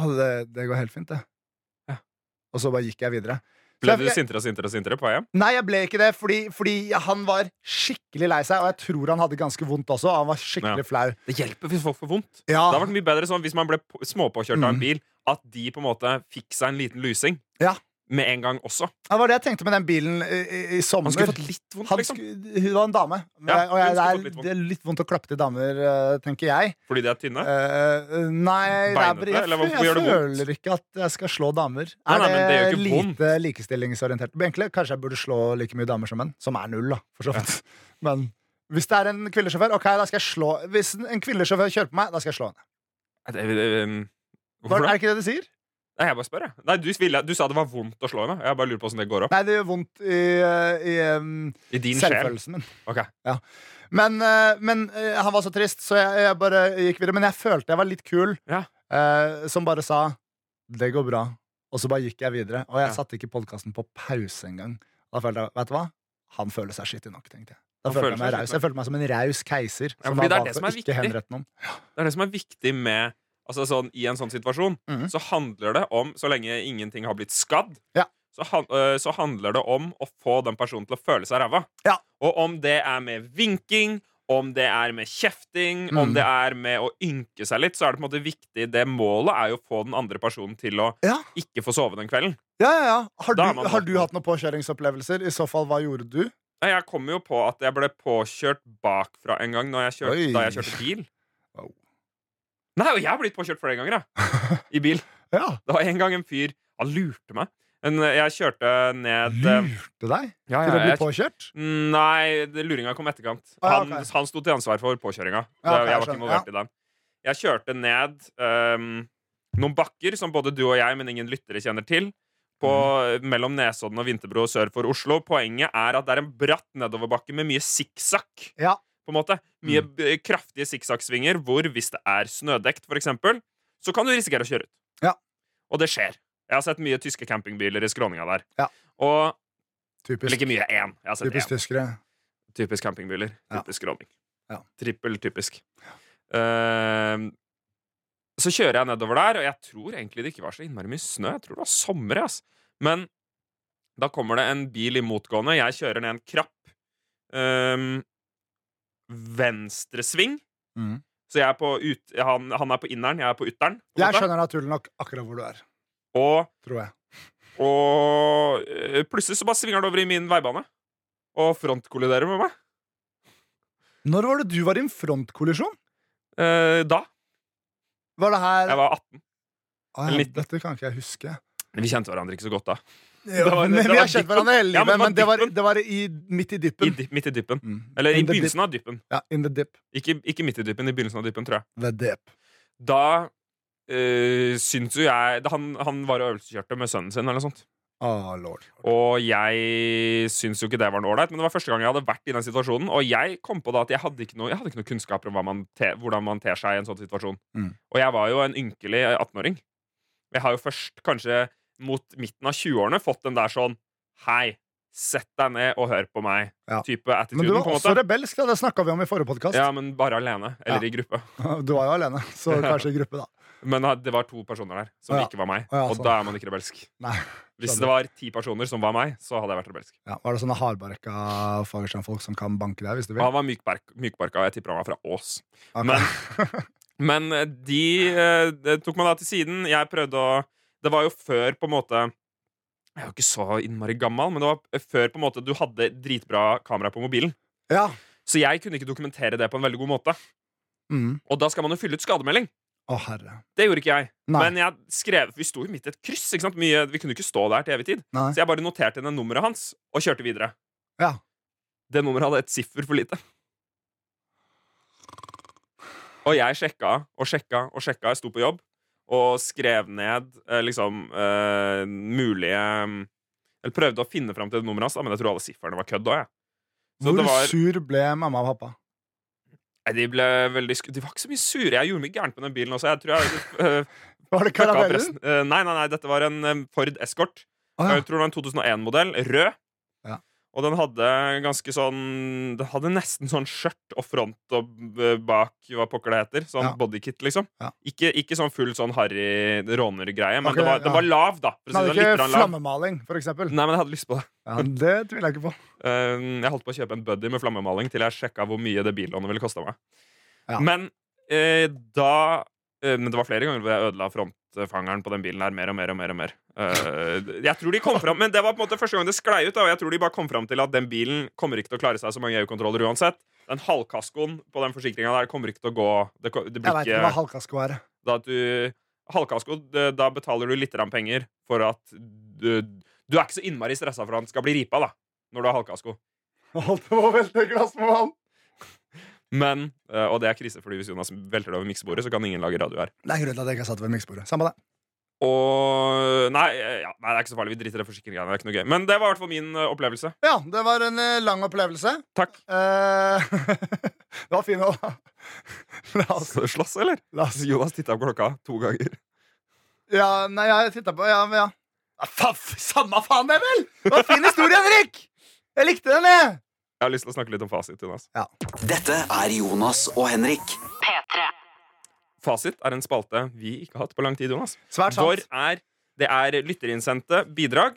Speaker 2: «Å, det, det går helt fint, det.
Speaker 1: Ja.
Speaker 2: Og så bare gikk jeg videre.
Speaker 1: Ble
Speaker 2: Så
Speaker 1: du
Speaker 2: jeg-
Speaker 1: sintere og sintere og sintere på vei hjem?
Speaker 2: Nei, jeg ble ikke det, fordi, fordi han var skikkelig lei seg, og jeg tror han hadde ganske vondt også. Og han var skikkelig flau.
Speaker 1: Det hjelper hvis folk får vondt.
Speaker 2: Ja,
Speaker 1: Det hadde vært mye bedre sånn hvis man ble på- småpåkjørt av
Speaker 2: Ah. Mm.
Speaker 1: en bil, at de på en måte fikk seg en liten lusing
Speaker 2: Ja.
Speaker 1: med en gang også.
Speaker 2: det var det jeg tenkte med den bilen i, i, i
Speaker 1: Han
Speaker 2: sommer.
Speaker 1: skulle fått litt vondt,
Speaker 2: Han
Speaker 1: liksom.
Speaker 2: skulle- hun var en dame,
Speaker 1: Ja,
Speaker 2: og jeg,
Speaker 1: hun skulle
Speaker 2: det, er,
Speaker 1: fått litt vondt.
Speaker 2: det er litt vondt å klappe til damer, eh, tenker jeg.
Speaker 1: Fordi de er tynne.
Speaker 2: Eh, nei, det er,
Speaker 1: Beinete,
Speaker 2: bare- jeg,
Speaker 1: eller hvorfor
Speaker 2: jeg,
Speaker 1: gjør det vondt?
Speaker 2: føler ikke at jeg skal slå
Speaker 1: Nei,
Speaker 2: damer.
Speaker 1: nei,
Speaker 2: Er
Speaker 1: men det gjør
Speaker 2: det
Speaker 1: ikke vondt.
Speaker 2: lite likestillingsorientert? Men Egentlig, kanskje jeg burde slå like mye damer som menn, som er null, da, for så vidt. Men hvis det er en kvinnesjåfør, ok, da skal jeg slå Hvis en kvinnesjåfør kjører på meg, da skal jeg slå henne.
Speaker 1: Er det- er det- um, Hvorfor
Speaker 2: Hva- Er
Speaker 1: det?
Speaker 2: det ikke det de sier?
Speaker 1: Nei, jeg bare spør, jeg. Nei, du, ville, du sa det var vondt å slå henne. Jeg bare lurer på hvordan det går opp.
Speaker 2: Nei, det gjør vondt i, eh, i em,
Speaker 1: I din sjel.
Speaker 2: selvfølelsen min.
Speaker 1: Ok.
Speaker 2: Ja. Men, eh, men eh, han var så trist, så jeg, jeg bare gikk videre. Men jeg følte jeg var litt kul,
Speaker 1: Ja.
Speaker 2: eh, som bare sa 'det går bra', og så bare gikk jeg videre. Og jeg
Speaker 1: Ja.
Speaker 2: satte ikke podkasten på pause engang. Da følte jeg, vet du hva? Han føler seg skittig nok, tenkte jeg. Da
Speaker 1: Han
Speaker 2: følte
Speaker 1: føler
Speaker 2: jeg, meg
Speaker 1: seg
Speaker 2: raus.
Speaker 1: skittig
Speaker 2: jeg følte meg som en raus keiser.
Speaker 1: Ja,
Speaker 2: som
Speaker 1: fordi
Speaker 2: da
Speaker 1: det er
Speaker 2: valgte
Speaker 1: det som er
Speaker 2: å ikke
Speaker 1: viktig.
Speaker 2: henrette noen.
Speaker 1: Det er det som er viktig med Altså sånn, I en sånn situasjon
Speaker 2: Mhm.
Speaker 1: så handler det om Så lenge ingenting har blitt skadd,
Speaker 2: Ja.
Speaker 1: så, han, øh, så handler det om å få den personen til å føle seg ræva.
Speaker 2: Ja.
Speaker 1: Og om det er med vinking, om det er med kjefting, om
Speaker 2: Mm.
Speaker 1: det er med å ynke seg litt, så er det på en måte viktig Det målet er jo å få den andre personen til å
Speaker 2: Ja.
Speaker 1: ikke få sove den kvelden.
Speaker 2: Ja, ja, ja. Har,
Speaker 1: Da er
Speaker 2: du,
Speaker 1: man
Speaker 2: har du
Speaker 1: våken.
Speaker 2: hatt noen påkjøringsopplevelser? I så fall, hva gjorde du?
Speaker 1: Nei, Jeg kom jo på at jeg ble påkjørt bakfra en gang når jeg kjørte,
Speaker 2: Oi.
Speaker 1: da jeg kjørte bil.
Speaker 2: Wow.
Speaker 1: Nei, og jeg har blitt påkjørt flere ganger, jeg. I bil.
Speaker 2: Ja,
Speaker 1: Det var en gang en fyr Han lurte meg. En, jeg kjørte ned eh,
Speaker 2: Lurte deg
Speaker 1: ja,
Speaker 2: til å
Speaker 1: ja,
Speaker 2: bli
Speaker 1: jeg,
Speaker 2: påkjørt?
Speaker 1: Nei, det- luringa kom etterkant.
Speaker 2: Ah, ja,
Speaker 1: Han,
Speaker 2: ok.
Speaker 1: han sto til ansvar for påkjøringa.
Speaker 2: Ja, ok,
Speaker 1: Det- jeg
Speaker 2: jeg
Speaker 1: var ikke
Speaker 2: skjønner,
Speaker 1: involvert i den. Jeg kjørte ned ehm, noen bakker som både du og jeg, men ingen lyttere, kjenner til. På,
Speaker 2: Mhm.
Speaker 1: Mellom Nesodden og Vinterbro sør for Oslo. Poenget er at det er en bratt nedoverbakke med mye sikksakk
Speaker 2: Ja. Mm.
Speaker 1: på en måte. Mye b- kraftige sikksakksvinger hvor hvis det er snødekt, for eksempel, så kan du risikere å kjøre ut.
Speaker 2: Ja.
Speaker 1: Og det skjer. Jeg har sett mye tyske campingbiler i skråninga der.
Speaker 2: Ja.
Speaker 1: Og eller
Speaker 2: Typisk,
Speaker 1: ikke mye, én. Jeg har sett typisk.
Speaker 2: typisk tyskere.
Speaker 1: én. Typisk campingbiler.
Speaker 2: Ja.
Speaker 1: Typisk skråning.
Speaker 2: Ja.
Speaker 1: Trippel typisk. Ehm, så kjører jeg nedover der, og jeg tror egentlig det ikke var så innmari mye snø. Jeg tror det var sommer, ass. Men da kommer det en bil i motgående. Jeg kjører ned en krapp ehm, venstresving.
Speaker 2: Mm.
Speaker 1: Så jeg er på ut, han, han er på inneren, jeg er på ytteren. på en
Speaker 2: Jeg
Speaker 1: måte.
Speaker 2: skjønner naturlig nok akkurat hvor du er,
Speaker 1: Og,
Speaker 2: tror jeg.
Speaker 1: og øh, plutselig så bare svinger det over i min veibane. Og frontkolliderer med meg.
Speaker 2: Når var det du var i en frontkollisjon?
Speaker 1: Eh, da.
Speaker 2: Var det her
Speaker 1: Jeg var 18.
Speaker 2: Ah, ja,
Speaker 1: liten.
Speaker 2: Dette kan ikke jeg huske.
Speaker 1: Vi kjente hverandre ikke så godt da.
Speaker 2: Jo,
Speaker 1: var-
Speaker 2: men
Speaker 1: det
Speaker 2: vi
Speaker 1: var
Speaker 2: har kjent
Speaker 1: dyppen.
Speaker 2: hverandre hele
Speaker 1: Ja,
Speaker 2: livet,
Speaker 1: men det var
Speaker 2: men det var, det var i, midt i
Speaker 1: I,
Speaker 2: dyppen.
Speaker 1: dy- midt i dyppen.
Speaker 2: Mm.
Speaker 1: Eller i
Speaker 2: In the dip.
Speaker 1: begynnelsen av dyppen.
Speaker 2: Ja, in the dip.
Speaker 1: Ikke, ikke midt i dyppen, i begynnelsen av dyppen, tror jeg.
Speaker 2: The dip.
Speaker 1: Da øh, syns jo jeg da han, han var og øvelseskjørte med sønnen sin, eller noe sånt.
Speaker 2: Ah, lord.
Speaker 1: Og jeg syns jo ikke det var noe ålreit, men det var første gang jeg hadde vært i den situasjonen. Og jeg kom på da at jeg hadde ikke noe, jeg hadde ikke noe kunnskaper om hva man te, hvordan man ter seg i en sånn situasjon.
Speaker 2: Mm.
Speaker 1: Og jeg var jo en ynkelig 18-åring. Jeg har jo først, kanskje mot midten av 20-årene, fått den der sånn Hei, sett deg ned og hør på meg.
Speaker 2: Ja.
Speaker 1: Type
Speaker 2: Men du
Speaker 1: attituden,
Speaker 2: var
Speaker 1: på en
Speaker 2: også
Speaker 1: måte.
Speaker 2: rebelsk, da. Det snakka vi om i forrige podkast.
Speaker 1: Ja, men bare alene. Eller i gruppe.
Speaker 2: Du var jo alene, så kanskje i gruppe, da.
Speaker 1: Men det var to personer der som
Speaker 2: Ja.
Speaker 1: ikke var meg.
Speaker 2: Ja,
Speaker 1: og
Speaker 2: sånn.
Speaker 1: da er man ikke rebelsk.
Speaker 2: Nei,
Speaker 1: Hvis
Speaker 2: skjønner.
Speaker 1: det var ti personer som var meg, så hadde jeg vært rebelsk.
Speaker 2: Ja, var det sånne hardbarka Fagerstrand-folk som kan banke deg hvis du
Speaker 1: Og
Speaker 2: vil?
Speaker 1: han var mykbark- mykbarka, og jeg tipper han var fra Ås.
Speaker 2: Ok.
Speaker 1: Men, men eh, de eh, det tok meg da til siden. Jeg prøvde å Det var jo før på en måte Jeg er jo ikke så innmari gammel, men det var eh, før på en måte du hadde dritbra kamera på mobilen.
Speaker 2: Ja.
Speaker 1: Så jeg kunne ikke dokumentere det på en veldig god måte.
Speaker 2: Mm.
Speaker 1: Og da skal man jo fylle ut skademelding.
Speaker 2: Å, herre.
Speaker 1: Det gjorde ikke jeg.
Speaker 2: Nei.
Speaker 1: Men jeg skrev Vi sto jo midt i et kryss. Ikke sant? Mye, vi kunne ikke stå der til evig tid.
Speaker 2: Nei.
Speaker 1: Så jeg bare noterte ned nummeret hans og kjørte videre.
Speaker 2: Ja.
Speaker 1: Det nummeret hadde et siffer for lite. Og jeg sjekka og sjekka og sjekka. Jeg sto på jobb og skrev ned eh, liksom eh, mulige eh, Eller prøvde å finne fram til nummeret hans, da, men jeg tror alle sifferne var kødd òg. jeg. Så
Speaker 2: Hvor
Speaker 1: det var-
Speaker 2: sur ble mamma og pappa?
Speaker 1: Nei, De ble veldig sku... De var ikke så mye sure. Jeg gjorde mye gærent på den bilen også. Jeg tror jeg eh,
Speaker 2: Var det
Speaker 1: fucka opp
Speaker 2: karameller?
Speaker 1: resten. Eh, nei, nei, nei, dette var en eh, Ford Escort.
Speaker 2: Å, ja.
Speaker 1: Jeg tror det var en 2001-modell, rød.
Speaker 2: Ah. Ja.
Speaker 1: Og den hadde ganske sånn Den hadde nesten sånn skjørt og front og eh, bak, hva pokker det heter. Sånn
Speaker 2: Ja.
Speaker 1: bodykit, liksom.
Speaker 2: Ja.
Speaker 1: Ikke, ikke sånn full sånn harry rånergreie, men
Speaker 2: Ok,
Speaker 1: det var, den
Speaker 2: ja.
Speaker 1: var lav, da. For å
Speaker 2: Den
Speaker 1: si
Speaker 2: hadde
Speaker 1: det sånn,
Speaker 2: ikke
Speaker 1: litt lav.
Speaker 2: flammemaling, for eksempel.
Speaker 1: Nei, men jeg hadde lyst på det.
Speaker 2: Ja, det tviler jeg ikke på.
Speaker 1: Eh, jeg holdt på å kjøpe en buddy med flammemaling til jeg sjekka hvor mye det billånet ville kosta meg.
Speaker 2: Ja.
Speaker 1: Men eh, da eh, Men det var flere ganger hvor jeg ødela frontfangeren på den bilen her mer og mer og mer. og mer Eh, Jeg tror de kom fram Men det var på en måte første gang det sklei ut, da, og jeg tror de bare kom fram til at den bilen kommer ikke til å klare seg så mange EU-kontroller uansett. Den halvkaskoen på den forsikringa der kommer ikke til å gå Det, ko- det
Speaker 2: Jeg
Speaker 1: blir
Speaker 2: veit ikke hva
Speaker 1: ikke
Speaker 2: halvkasko er.
Speaker 1: da at du Halvkasko, det- da betaler du litt grann penger for at du Du er ikke så innmari stressa for at han skal bli ripa, da, når du har halvkasko.
Speaker 2: Holdt på å velte et glass med vann.
Speaker 1: Men, eh, og det er krise, fordi hvis Jonas velter det over miksebordet, så kan ingen lage radio her.
Speaker 2: Det er grunnen til at jeg ikke har satt ved miksebordet. Samme det.
Speaker 1: Og nei, eh, ja, nei, det er ikke så farlig. Vi driter i det forsikringsgreiene. Det er ikke noe gøy. Men det var i hvert fall min eh, opplevelse.
Speaker 2: Ja, det var en eh, lang opplevelse.
Speaker 1: Takk.
Speaker 2: Eh, det var fin å La oss,
Speaker 1: Skal du Altså, slåss, eller?
Speaker 2: la oss
Speaker 1: Jonas titta på klokka to ganger.
Speaker 2: Ja, nei, jeg titta på Ja, men ja. Ja, fa- f- Samme faen, det, vel! Det var en fin historie, Henrik! Jeg likte den, jeg.
Speaker 1: Jeg har lyst til å snakke litt om fasit. Jonas
Speaker 3: Dette er Jonas og Henrik.
Speaker 4: P3.
Speaker 1: Fasit er en spalte vi ikke har hatt på lang tid. Jonas
Speaker 2: Svært sant.
Speaker 1: Hvor er Det er lytterinnsendte bidrag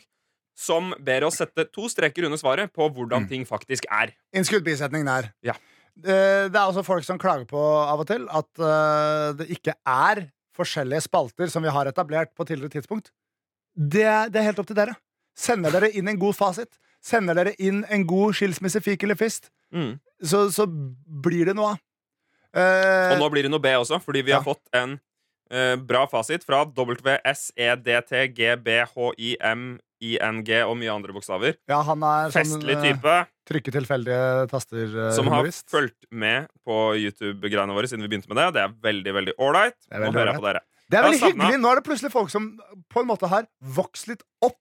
Speaker 1: som ber oss sette to streker under svaret på hvordan ting faktisk er.
Speaker 2: Innskudd bisetning der.
Speaker 1: Ja.
Speaker 2: Eh, Det er også folk som klager på av og til at eh, det ikke er forskjellige spalter som vi har etablert på tidligere tidspunkt. Det, det er helt opp til dere. Sender dere inn en god fasit? Sender dere inn en god skilsmisse, fik eller fist?
Speaker 1: Mm.
Speaker 2: Så, så blir det noe av. Eh,
Speaker 1: Og nå blir det noe B også, fordi vi
Speaker 2: Ja.
Speaker 1: har fått en eh, bra fasit fra E WSEDTGBHIMING og mye andre bokstaver.
Speaker 2: ja, han er sånn
Speaker 1: Festlig
Speaker 2: eh,
Speaker 1: type
Speaker 2: trykke tilfeldige taster. eh,
Speaker 1: som har
Speaker 2: humorist.
Speaker 1: fulgt med på YouTube-greiene våre siden vi begynte med det. Det er veldig veldig ålreit.
Speaker 2: Det er
Speaker 1: Nå
Speaker 2: veldig
Speaker 1: hører jeg på dere.
Speaker 2: Det er
Speaker 1: Jeg
Speaker 2: veldig
Speaker 1: har savnet-
Speaker 2: hyggelig. Nå er det plutselig folk som på en måte har vokst litt opp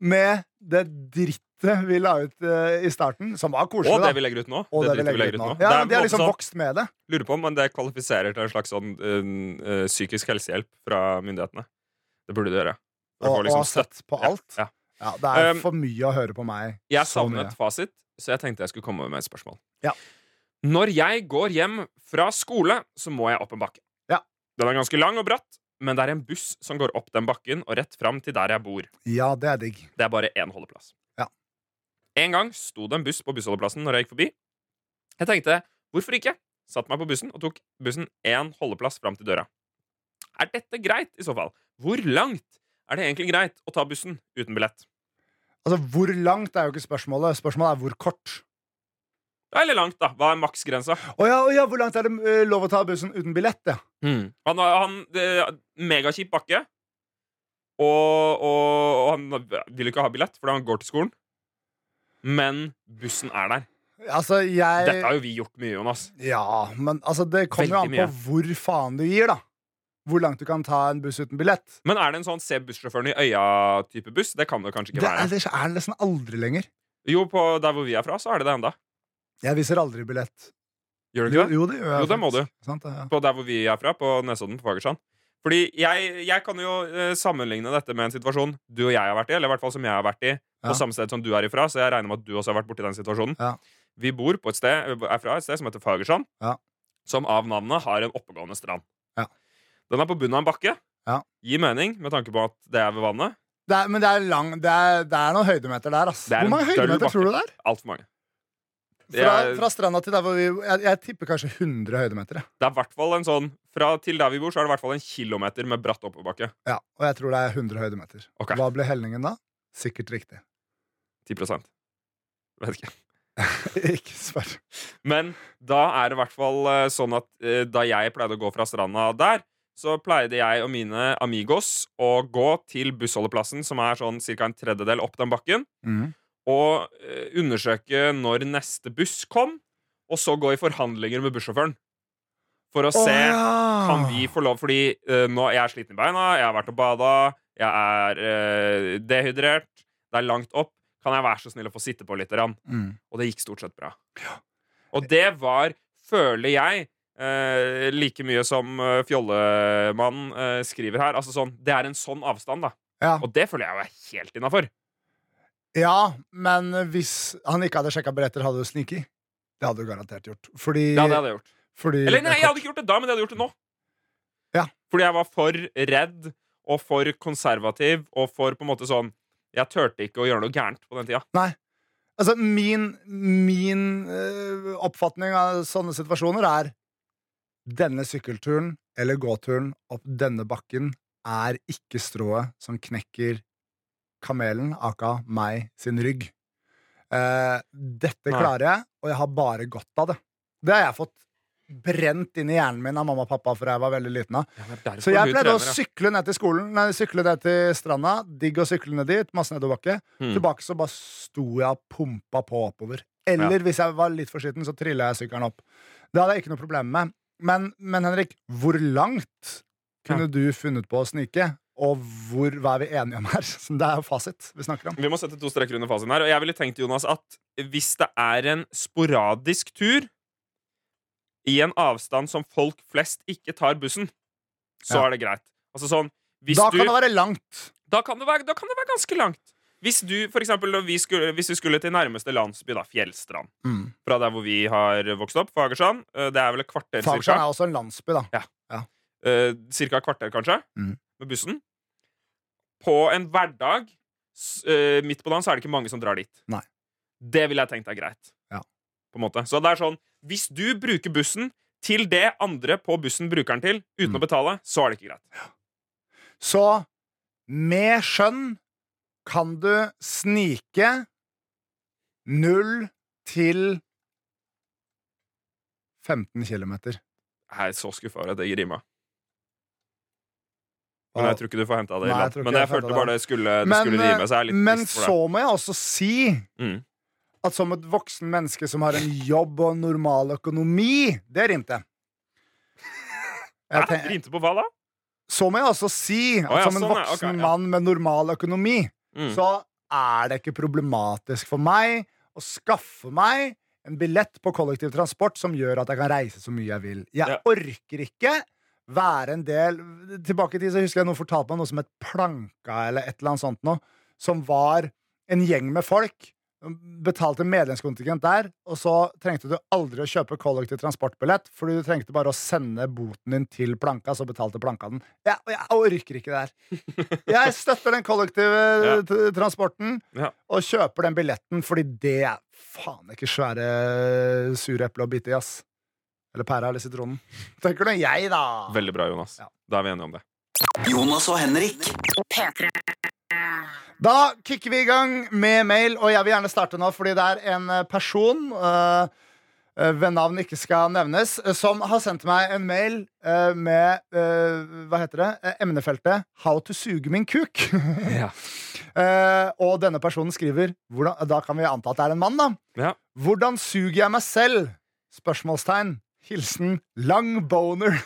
Speaker 2: med det drittet vi la ut eh, i starten, som var koselig.
Speaker 1: Og det
Speaker 2: da.
Speaker 1: vi legger ut nå.
Speaker 2: Og det vi
Speaker 1: driter vi
Speaker 2: legger ut nå.
Speaker 1: Det
Speaker 2: Ja,
Speaker 1: er
Speaker 2: men de har
Speaker 1: på en
Speaker 2: liksom
Speaker 1: måte sånn-
Speaker 2: vokst med det.
Speaker 1: Lurer på om det kvalifiserer til en slags sånn eh, eh, psykisk helsehjelp fra myndighetene. Det burde det gjøre. For å
Speaker 2: Og,
Speaker 1: få
Speaker 2: og
Speaker 1: liksom
Speaker 2: har sett på
Speaker 1: Ja,
Speaker 2: alt.
Speaker 1: ja.
Speaker 2: Ja, det er
Speaker 1: Um,
Speaker 2: for mye å høre på meg.
Speaker 1: Jeg
Speaker 2: Så
Speaker 1: savnet
Speaker 2: mye.
Speaker 1: fasit, så jeg tenkte jeg skulle komme med et spørsmål.
Speaker 2: Ja.
Speaker 1: Når jeg går hjem fra skole, så må jeg opp en bakke.
Speaker 2: Ja.
Speaker 1: Den er ganske lang og bratt, men det er en buss som går opp den bakken og rett fram til der jeg bor.
Speaker 2: Ja, det er digg.
Speaker 1: Det er bare én holdeplass.
Speaker 2: Ja.
Speaker 1: En gang sto det en buss på bussholdeplassen når jeg gikk forbi. Jeg tenkte hvorfor ikke? Satt meg på bussen og tok bussen én holdeplass fram til døra. Er dette greit, i så fall? Hvor langt er det egentlig greit å ta bussen uten billett?
Speaker 2: Altså, Hvor langt er jo ikke spørsmålet. Spørsmålet er hvor kort.
Speaker 1: Det er litt langt, da. Hva er maksgrensa?
Speaker 2: Å ja, å ja, hvor langt er det eh, lov å ta bussen uten billett? Ja.
Speaker 1: Han, han det- Megakjip bakke. Og, og, og han vil ikke ha billett fordi han går til skolen. Men bussen er der.
Speaker 2: Altså, jeg
Speaker 1: Dette har jo vi gjort mye, Jonas.
Speaker 2: Ja, men altså, det kommer jo an
Speaker 1: Veldig
Speaker 2: på hvor faen du gir, da. Hvor langt du kan ta en buss uten billett.
Speaker 1: Men er det en sånn se bussjåføren i øya-type buss? Det kan det kanskje ikke
Speaker 2: Det er,
Speaker 1: være.
Speaker 2: ellers er det nesten aldri lenger.
Speaker 1: Jo, på der hvor vi er fra, så er det det enda.
Speaker 2: Jeg viser aldri billett.
Speaker 1: Gjør det
Speaker 2: Jo,
Speaker 1: ikke det?
Speaker 2: jo det gjør jeg.
Speaker 1: Jo, det må
Speaker 2: faktisk. Sant, det, ja.
Speaker 1: På der hvor vi er fra, på Nesodden, på Fagersand. Fordi jeg, jeg kan jo eh, sammenligne dette med en situasjon du og jeg har vært i, eller i hvert fall som jeg har vært i,
Speaker 2: Ja.
Speaker 1: på samme sted som du er ifra, så jeg regner med at du også har vært borti den situasjonen.
Speaker 2: Ja.
Speaker 1: Vi bor på et sted, eh, er fra et sted som heter Fagersand,
Speaker 2: Ja.
Speaker 1: som av navnet har en oppegående strand.
Speaker 2: Ja.
Speaker 1: Den er på bunnen av en bakke.
Speaker 2: Ja.
Speaker 1: Gir mening med tanke på at det er ved vannet.
Speaker 2: Det er, men det er, lang, det, er, det er noen høydemeter der, ass.
Speaker 1: Det er
Speaker 2: Hvor mange
Speaker 1: en døll
Speaker 2: høydemeter
Speaker 1: bakke.
Speaker 2: tror du det er?
Speaker 1: Altfor mange. Det
Speaker 2: Fra,
Speaker 1: er-
Speaker 2: fra stranda til der hvor vi Jeg, jeg tipper kanskje 100 høydemeter. jeg.
Speaker 1: Det er i hvert fall en sånn Fra til der vi bor, så er det i hvert fall en kilometer med bratt oppoverbakke.
Speaker 2: Ja, Og jeg tror det er 100 høydemeter.
Speaker 1: Ok.
Speaker 2: Hva ble helningen da? Sikkert riktig.
Speaker 1: 10 Vet ikke.
Speaker 2: Ikke spør.
Speaker 1: Men da er det i hvert fall eh, sånn at eh, da jeg pleide å gå fra stranda der, så pleide jeg og mine amigos å gå til bussholdeplassen, som er sånn ca. en tredjedel opp den bakken,
Speaker 2: Mm.
Speaker 1: og eh, undersøke når neste buss kom, og så gå i forhandlinger med bussjåføren. For å
Speaker 2: Å,
Speaker 1: se
Speaker 2: ja.
Speaker 1: Kan vi få lov? Fordi eh, nå jeg er sliten i beina, jeg har vært og bada, jeg er eh, dehydrert, det er langt opp. Kan jeg være så snill å få sitte på litt? grann?
Speaker 2: mm.
Speaker 1: Og det gikk stort sett bra. Og det var, føler jeg, eh, like mye som eh, Fjollemann eh, skriver her. Altså sånn, Det er en sånn avstand, da.
Speaker 2: Ja.
Speaker 1: Og det føler jeg jo er helt innafor.
Speaker 2: ja, men hvis han ikke hadde sjekka billetter, hadde du sniket? Det hadde du garantert gjort. Fordi,
Speaker 1: Ja, det hadde jeg gjort.
Speaker 2: fordi
Speaker 1: Eller nei, jeg hadde ikke gjort det da, men jeg hadde gjort det nå.
Speaker 2: Ja.
Speaker 1: Fordi jeg var for redd og for konservativ og for på en måte sånn Jeg turte ikke å gjøre noe gærent på den tida.
Speaker 2: Altså, min, min eh, oppfatning av sånne situasjoner er Denne sykkelturen eller gåturen opp denne bakken er ikke strået som knekker kamelen, aka meg, sin rygg. Eh, dette
Speaker 1: Nei.
Speaker 2: klarer jeg, og jeg har bare godt av det. Det har jeg fått brent inn i hjernen min av mamma og pappa fra jeg var veldig liten. av så jeg pleide å sykle ned til skolen Nei, sykle ned til stranda. Digg å sykle ned dit. Masse nedoverbakke.
Speaker 1: Hmm.
Speaker 2: Tilbake så bare sto jeg og pumpa på oppover. Eller hvis jeg var litt for sliten, så trilla jeg sykkelen opp. Det hadde jeg ikke noe problem med. Men, men Henrik, hvor langt kunne du funnet på å snike og hvor, hva er vi enige om her? Så det er jo fasit vi snakker om.
Speaker 1: Vi må sette to streker under fasiten her. Og jeg ville tenkt, Jonas, at hvis det er en sporadisk tur i en avstand som folk flest ikke tar bussen, så
Speaker 2: Ja.
Speaker 1: er det greit. Altså sånn hvis
Speaker 2: Da
Speaker 1: du,
Speaker 2: kan det være langt.
Speaker 1: da, kan det være, da kan det være ganske langt. Hvis du, for eksempel, når vi skulle, hvis vi skulle til nærmeste landsby, da, Fjellstrand,
Speaker 2: Mm.
Speaker 1: fra der hvor vi har vokst opp, Fagersand, eh, det er vel et kvarter
Speaker 2: Fagerstrand
Speaker 1: cirka,
Speaker 2: er også en landsby, da.
Speaker 1: eh, cirka et kvarter kanskje,
Speaker 2: Mm.
Speaker 1: med bussen, på en hverdag, s- eh, midt på dagen, så er det ikke mange som drar dit.
Speaker 2: Nei.
Speaker 1: Det ville jeg tenkt er greit.
Speaker 2: Ja.
Speaker 1: På en måte. Så det er sånn, hvis du bruker bussen til det andre på bussen bruker den til, uten
Speaker 2: Mm.
Speaker 1: å betale, så er det ikke greit.
Speaker 2: Så med skjønn kan du snike null til 15 kilometer.
Speaker 1: Jeg er så skuffa over at det rimer. Men
Speaker 2: Og-
Speaker 1: jeg tror ikke du får henta det i
Speaker 2: Nei, jeg
Speaker 1: land.
Speaker 2: tror ikke
Speaker 1: Men jeg
Speaker 2: jeg får
Speaker 1: følte
Speaker 2: hentet
Speaker 1: bare det skulle, det
Speaker 2: Men, eh,
Speaker 1: skulle rime. Så jeg er litt
Speaker 2: Men
Speaker 1: trist for
Speaker 2: så må jeg også si
Speaker 1: det. Mm.
Speaker 2: at som et voksen menneske som har en jobb og en normal økonomi Det rimte. Jeg
Speaker 1: Hæ?
Speaker 2: tenk,
Speaker 1: Rimte på hva da?
Speaker 2: så må jeg også si
Speaker 1: Å, ja,
Speaker 2: at som en
Speaker 1: sånn, ja. Ok,
Speaker 2: voksen
Speaker 1: ja.
Speaker 2: mann med normal økonomi
Speaker 1: Mm.
Speaker 2: så er det ikke problematisk for meg å skaffe meg en billett på kollektivtransport som gjør at jeg kan reise så mye jeg vil. Jeg
Speaker 1: Ja.
Speaker 2: orker ikke være en del Tilbake i tid så husker jeg noen fortalte meg noe som het Planka, eller et eller annet sånt noe, som var en gjeng med folk. Betalte medlemskontingent der, og så trengte du aldri å kjøpe kollektiv transportbillett, fordi du trengte bare å sende boten din til Planka, så betalte Planka den. Jeg, jeg orker ikke det her. Jeg støtter den kollektive eh,
Speaker 1: Ja.
Speaker 2: t- transporten
Speaker 1: Ja.
Speaker 2: og kjøper den billetten, fordi det er faen ikke svære eh, sureple å bite i, ass. Eller pæra eller sitronen. Tenker nå jeg, da.
Speaker 1: Veldig bra, Jonas.
Speaker 2: Ja.
Speaker 1: Da er vi enige om det.
Speaker 3: Jonas og Henrik.
Speaker 2: Da kicker vi i gang med mail, og jeg vil gjerne starte nå, fordi det er en eh, person eh, eh, ved navn ikke skal nevnes, eh, som har sendt meg en mail eh, med eh, Hva heter det? Eh, Emnefeltet 'How to suge min kuk'.
Speaker 1: Ja.
Speaker 2: Eh, og denne personen skriver hvordan, Da kan vi anta at det er en mann, da.
Speaker 1: Ja.
Speaker 2: Hvordan suger jeg meg selv? Spørsmålstegn. Hilsen lang boner.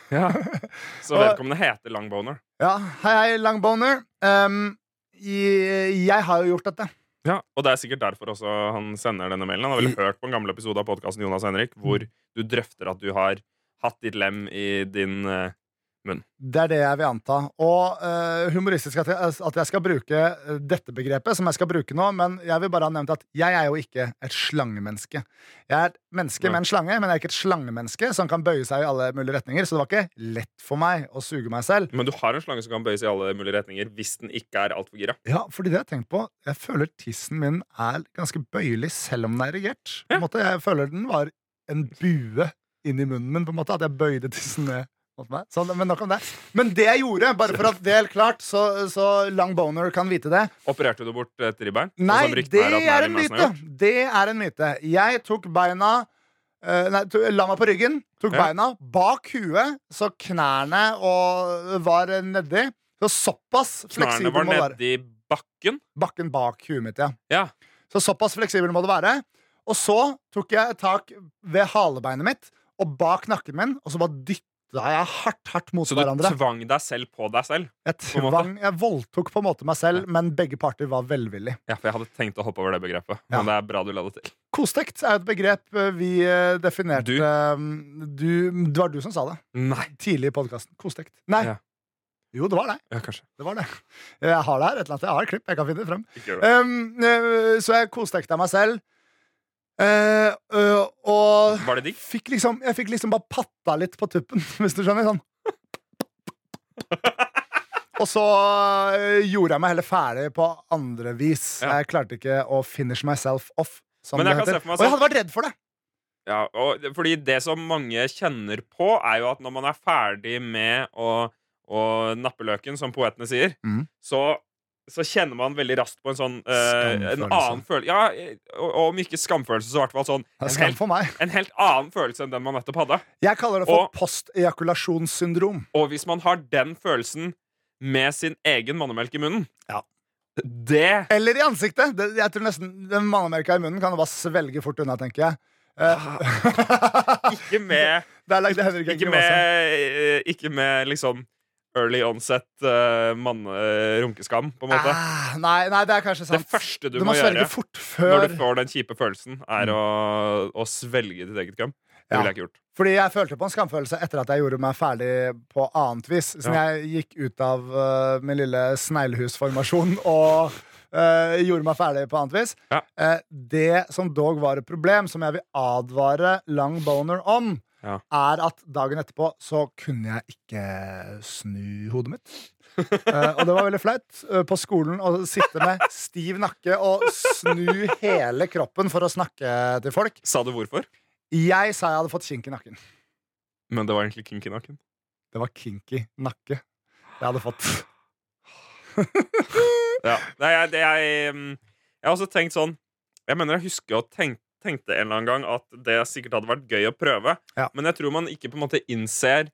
Speaker 1: Så vedkommende heter Langboner.
Speaker 2: Ja, hei, hei, lang boner. Um, i- jeg har jo gjort dette.
Speaker 1: Ja, og det er sikkert derfor også han sender denne mailen. Han har vel hørt på en gammel episode av podkasten Jonas og Henrik hvor
Speaker 2: Mm.
Speaker 1: du drøfter at du har hatt ditt lem i din eh,
Speaker 2: Det er det jeg vil anta. Og eh, humoristisk at jeg, at jeg skal bruke eh, dette begrepet, som jeg skal bruke nå, men jeg vil bare ha nevnt at jeg er jo ikke et slangemenneske. Jeg er et menneske
Speaker 1: Nei.
Speaker 2: med en slange, men jeg er ikke et slangemenneske som kan bøye seg i alle mulige retninger, så det var ikke lett for meg å suge meg selv.
Speaker 1: Men du har en slange som kan bøyes i alle mulige retninger hvis den ikke er altfor gira.
Speaker 2: Ja, fordi det har jeg tenkt på. Jeg føler tissen min er ganske bøyelig selv om den er erigert. På en måte, jeg føler den var en bue inn i munnen min, på en måte, at jeg bøyde tissen ned. mot meg. Sånn, men nok om det. Men det jeg gjorde, bare for at det er helt klart, så, så Lang Boner kan vite det
Speaker 1: Opererte du bort et ribbein? Sånn
Speaker 2: Nei,
Speaker 1: som ryktene
Speaker 2: det
Speaker 1: at Mary
Speaker 2: er en
Speaker 1: Mason har
Speaker 2: myte!
Speaker 1: gjort?
Speaker 2: Det er en myte. Jeg tok beina eh, Nei, to, la meg på ryggen. Tok
Speaker 1: Ja.
Speaker 2: beina bak huet, så knærne og, var nedi. Så såpass
Speaker 1: Knærne
Speaker 2: fleksibel
Speaker 1: var
Speaker 2: må det være.
Speaker 1: nedi bakken.
Speaker 2: Bakken bak huet mitt, ja.
Speaker 1: Ja.
Speaker 2: Så såpass fleksibel må det være. Og så tok jeg et tak ved halebeinet mitt og bak nakken min, og så bare dytta jeg hardt, hardt mot
Speaker 1: Så du
Speaker 2: hverandre.
Speaker 1: tvang deg selv på deg selv?
Speaker 2: Jeg
Speaker 1: på en måte?
Speaker 2: tvang, jeg voldtok på en måte meg selv, men begge parter var velvillig.
Speaker 1: Ja, for jeg hadde tenkt å hoppe over det begrepet.
Speaker 2: Ja.
Speaker 1: Men det er bra du la det til.
Speaker 2: Kostekt er et begrep eh, vi eh, definerte
Speaker 1: Du?
Speaker 2: eh, du, det var du som sa det
Speaker 1: Nei.
Speaker 2: tidlig i podkasten. Kostekt. Nei.
Speaker 1: Ja.
Speaker 2: Jo, det var deg.
Speaker 1: Ja, kanskje.
Speaker 2: Det var det. Jeg har det her. et eller annet. Jeg har et klipp. Jeg kan finne det frem.
Speaker 1: Ikke gjør det.
Speaker 2: Um, eh, så jeg kostekte meg selv. Eh, eh, og
Speaker 1: Var det digg?
Speaker 2: fikk liksom, jeg fikk liksom bare patta litt på tuppen, hvis du skjønner. Sånn. Og så eh, gjorde jeg meg heller ferdig på andre vis.
Speaker 1: Ja.
Speaker 2: Jeg klarte ikke å finish myself off. Som
Speaker 1: Men jeg
Speaker 2: det
Speaker 1: kan
Speaker 2: heter.
Speaker 1: se for meg
Speaker 2: og jeg
Speaker 1: sånn-
Speaker 2: hadde vært redd for det.
Speaker 1: Ja, og, fordi det som mange kjenner på, er jo at når man er ferdig med å, å nappe løken, som poetene sier,
Speaker 2: Mhm.
Speaker 1: så, så kjenner man veldig raskt på en sånn eh, En
Speaker 2: Skamfølelse.
Speaker 1: annen følelse. Ja, eh, og, og om ikke skamfølelse, så i hvert fall sånn
Speaker 2: Det er
Speaker 1: en
Speaker 2: skam
Speaker 1: helt,
Speaker 2: for meg.
Speaker 1: en helt annen følelse enn den man nettopp hadde.
Speaker 2: Jeg kaller det for
Speaker 1: Og-
Speaker 2: postejakulasjonssyndrom.
Speaker 1: Og hvis man har den følelsen med sin egen mannemelk i munnen
Speaker 2: Ja.
Speaker 1: Det
Speaker 2: Eller i ansiktet. Det, jeg tror nesten Den mannemerka i munnen kan du bare svelge fort unna, tenker jeg. Eh,
Speaker 1: Ikke med Ah.
Speaker 2: det er lagd av Henrik
Speaker 1: Ikke
Speaker 2: Henke
Speaker 1: med,
Speaker 2: Vaasa.
Speaker 1: eh, ikke med liksom early onset uh, manne-runkeskam, på en måte.
Speaker 2: Ah, nei, nei, det er
Speaker 1: det
Speaker 2: kanskje sant.
Speaker 1: første du,
Speaker 2: du
Speaker 1: må,
Speaker 2: må
Speaker 1: gjøre
Speaker 2: svelge fort
Speaker 1: når
Speaker 2: før
Speaker 1: du får den kjipe følelsen, er å, å svelge ditt eget køm. Det
Speaker 2: Ja.
Speaker 1: ville jeg ikke gjort.
Speaker 2: Fordi jeg følte på en skamfølelse etter at jeg gjorde meg ferdig på annet vis. Så
Speaker 1: Ja.
Speaker 2: jeg gikk ut av eh, min lille sneglehusformasjon og eh, gjorde meg ferdig på annet vis.
Speaker 1: Ja.
Speaker 2: Eh, det som dog var et problem, som jeg vil advare lang boner om,
Speaker 1: Ja.
Speaker 2: er at dagen etterpå så kunne jeg ikke snu hodet mitt. Eh, og det var veldig flaut eh, på skolen å sitte med stiv nakke og snu hele kroppen for å snakke til folk.
Speaker 1: Sa du hvorfor?
Speaker 2: Jeg sa jeg hadde fått kink i nakken.
Speaker 1: Men det var egentlig kinky-naken.
Speaker 2: Det var kinky nakke jeg hadde fått.
Speaker 1: Ja. Nei, jeg, det, jeg, mm, jeg har også tenkt sånn Jeg mener jeg husker å tenk, tenkte en eller annen gang at det sikkert hadde vært gøy å prøve,
Speaker 2: Ja.
Speaker 1: men jeg tror man ikke på en måte innser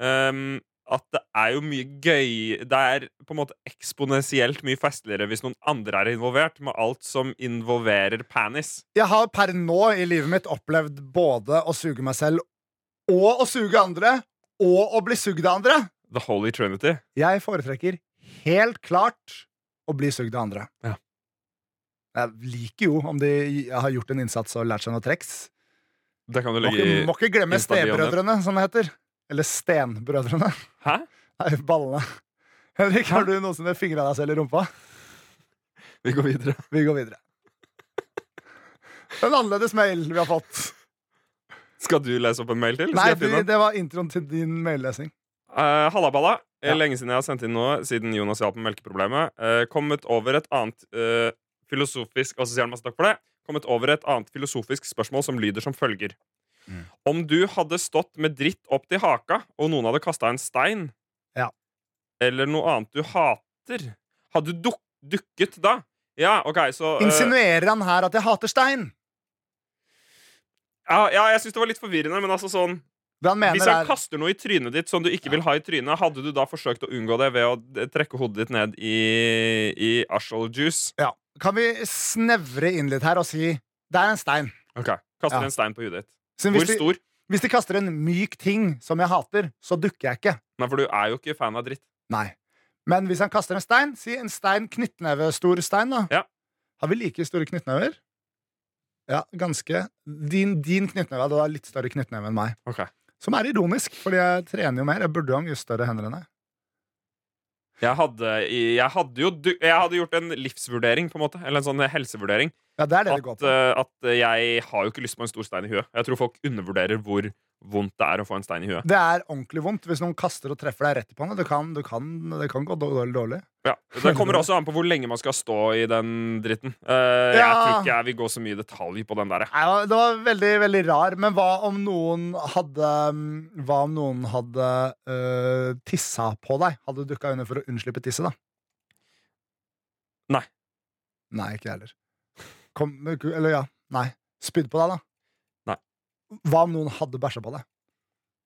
Speaker 1: ehm, at det er jo mye gøy Det er på en måte eksponentielt mye festligere hvis noen andre er involvert, med alt som involverer panis.
Speaker 2: Jeg har per nå i livet mitt opplevd både å suge meg selv og å suge andre, og å bli sugd av andre.
Speaker 1: The Holy Trinity.
Speaker 2: Jeg foretrekker helt klart å bli sugd av andre.
Speaker 1: Ja.
Speaker 2: Jeg liker jo om de har gjort en innsats og lært seg noen triks.
Speaker 1: Det kan du
Speaker 2: Må
Speaker 1: legge
Speaker 2: ikke,
Speaker 1: i
Speaker 2: må ikke glemme
Speaker 1: Insta-bioen din.
Speaker 2: stebrødrene, som det heter. Eller stenbrødrene.
Speaker 1: Hæ?
Speaker 2: Nei, ballene. Henrik, har du noensinne fingra deg selv i rumpa?
Speaker 1: Vi går videre.
Speaker 2: Vi går videre. En annerledes mail vi har fått.
Speaker 1: Skal du lese opp en mail til?
Speaker 2: Nei,
Speaker 1: Skal jeg finne
Speaker 2: du,
Speaker 1: den?
Speaker 2: det var introen til din maillesing.
Speaker 1: Eh, Halla, balla. Eh,
Speaker 2: Ja.
Speaker 1: Lenge siden jeg har sendt inn noe, siden Jonas hjalp med melkeproblemet. Eh, kommet over et annet eh, filosofisk Og så sier han masse takk for det. Kommet over et annet filosofisk spørsmål som lyder som følger.
Speaker 2: Mm.
Speaker 1: Om du hadde stått med dritt opp til haka, og noen hadde kasta en stein,
Speaker 2: Ja.
Speaker 1: eller noe annet du hater, hadde du duk dukket da? Ja, OK, så eh,
Speaker 2: Insinuerer han her at jeg hater stein?
Speaker 1: eh, ja, ja, jeg syns det var litt forvirrende, men altså sånn
Speaker 2: Det han
Speaker 1: Hvis
Speaker 2: mener
Speaker 1: han
Speaker 2: er
Speaker 1: kaster noe i trynet ditt som du ikke vil ha i trynet, hadde du da forsøkt å unngå det ved å d- trekke hodet ditt ned i, i Ashol juice?
Speaker 2: ja. Kan vi snevre inn litt her og si det er en stein?
Speaker 1: Ok, Kaster
Speaker 2: Ja.
Speaker 1: en stein på hudet ditt.
Speaker 2: Så
Speaker 1: Hvor
Speaker 2: hvis, de,
Speaker 1: stor?
Speaker 2: hvis de kaster en myk ting som jeg hater, så dukker jeg ikke.
Speaker 1: Nei, for du er jo ikke fan av dritt.
Speaker 2: Nei. Men hvis han kaster en stein, si en stein, knyttnevestor stein, da.
Speaker 1: Ja.
Speaker 2: Har vi like store knyttnever? Ja, ganske. Din, din knyttneve hadde da litt større knyttneve enn meg.
Speaker 1: Ok.
Speaker 2: Som er ironisk, fordi jeg trener jo mer. Jeg burde jo ha mye større hender enn deg.
Speaker 1: Jeg hadde, i- jeg hadde jo du, Jeg hadde gjort en livsvurdering, på en måte. Eller en sånn helsevurdering.
Speaker 2: Ja, det er det det går
Speaker 1: At,
Speaker 2: på.
Speaker 1: eh, at jeg har jo ikke lyst på en stor stein i huet. Jeg tror folk undervurderer hvor vondt det er å få en stein i huet.
Speaker 2: Det er ordentlig vondt hvis noen kaster og treffer deg rett i panna. Det kan, det kan, det kan gå dårlig. dårlig.
Speaker 1: Ja. Det kommer også an på hvor lenge man skal stå i den dritten. Eh, Jeg
Speaker 2: Ja.
Speaker 1: tror ikke jeg vil gå så mye i detalj på den der. jeg.
Speaker 2: Nei, det var- Det var veldig, veldig rar. Men hva om noen hadde mm, Hva om noen hadde øh, tissa på deg? Hadde du dukka under for å unnslippe tisset, da?
Speaker 1: Nei.
Speaker 2: Nei, ikke jeg heller. Kom, eller ja. Nei. Spydd på deg, da?
Speaker 1: Nei.
Speaker 2: Hva om noen hadde bæsja på deg?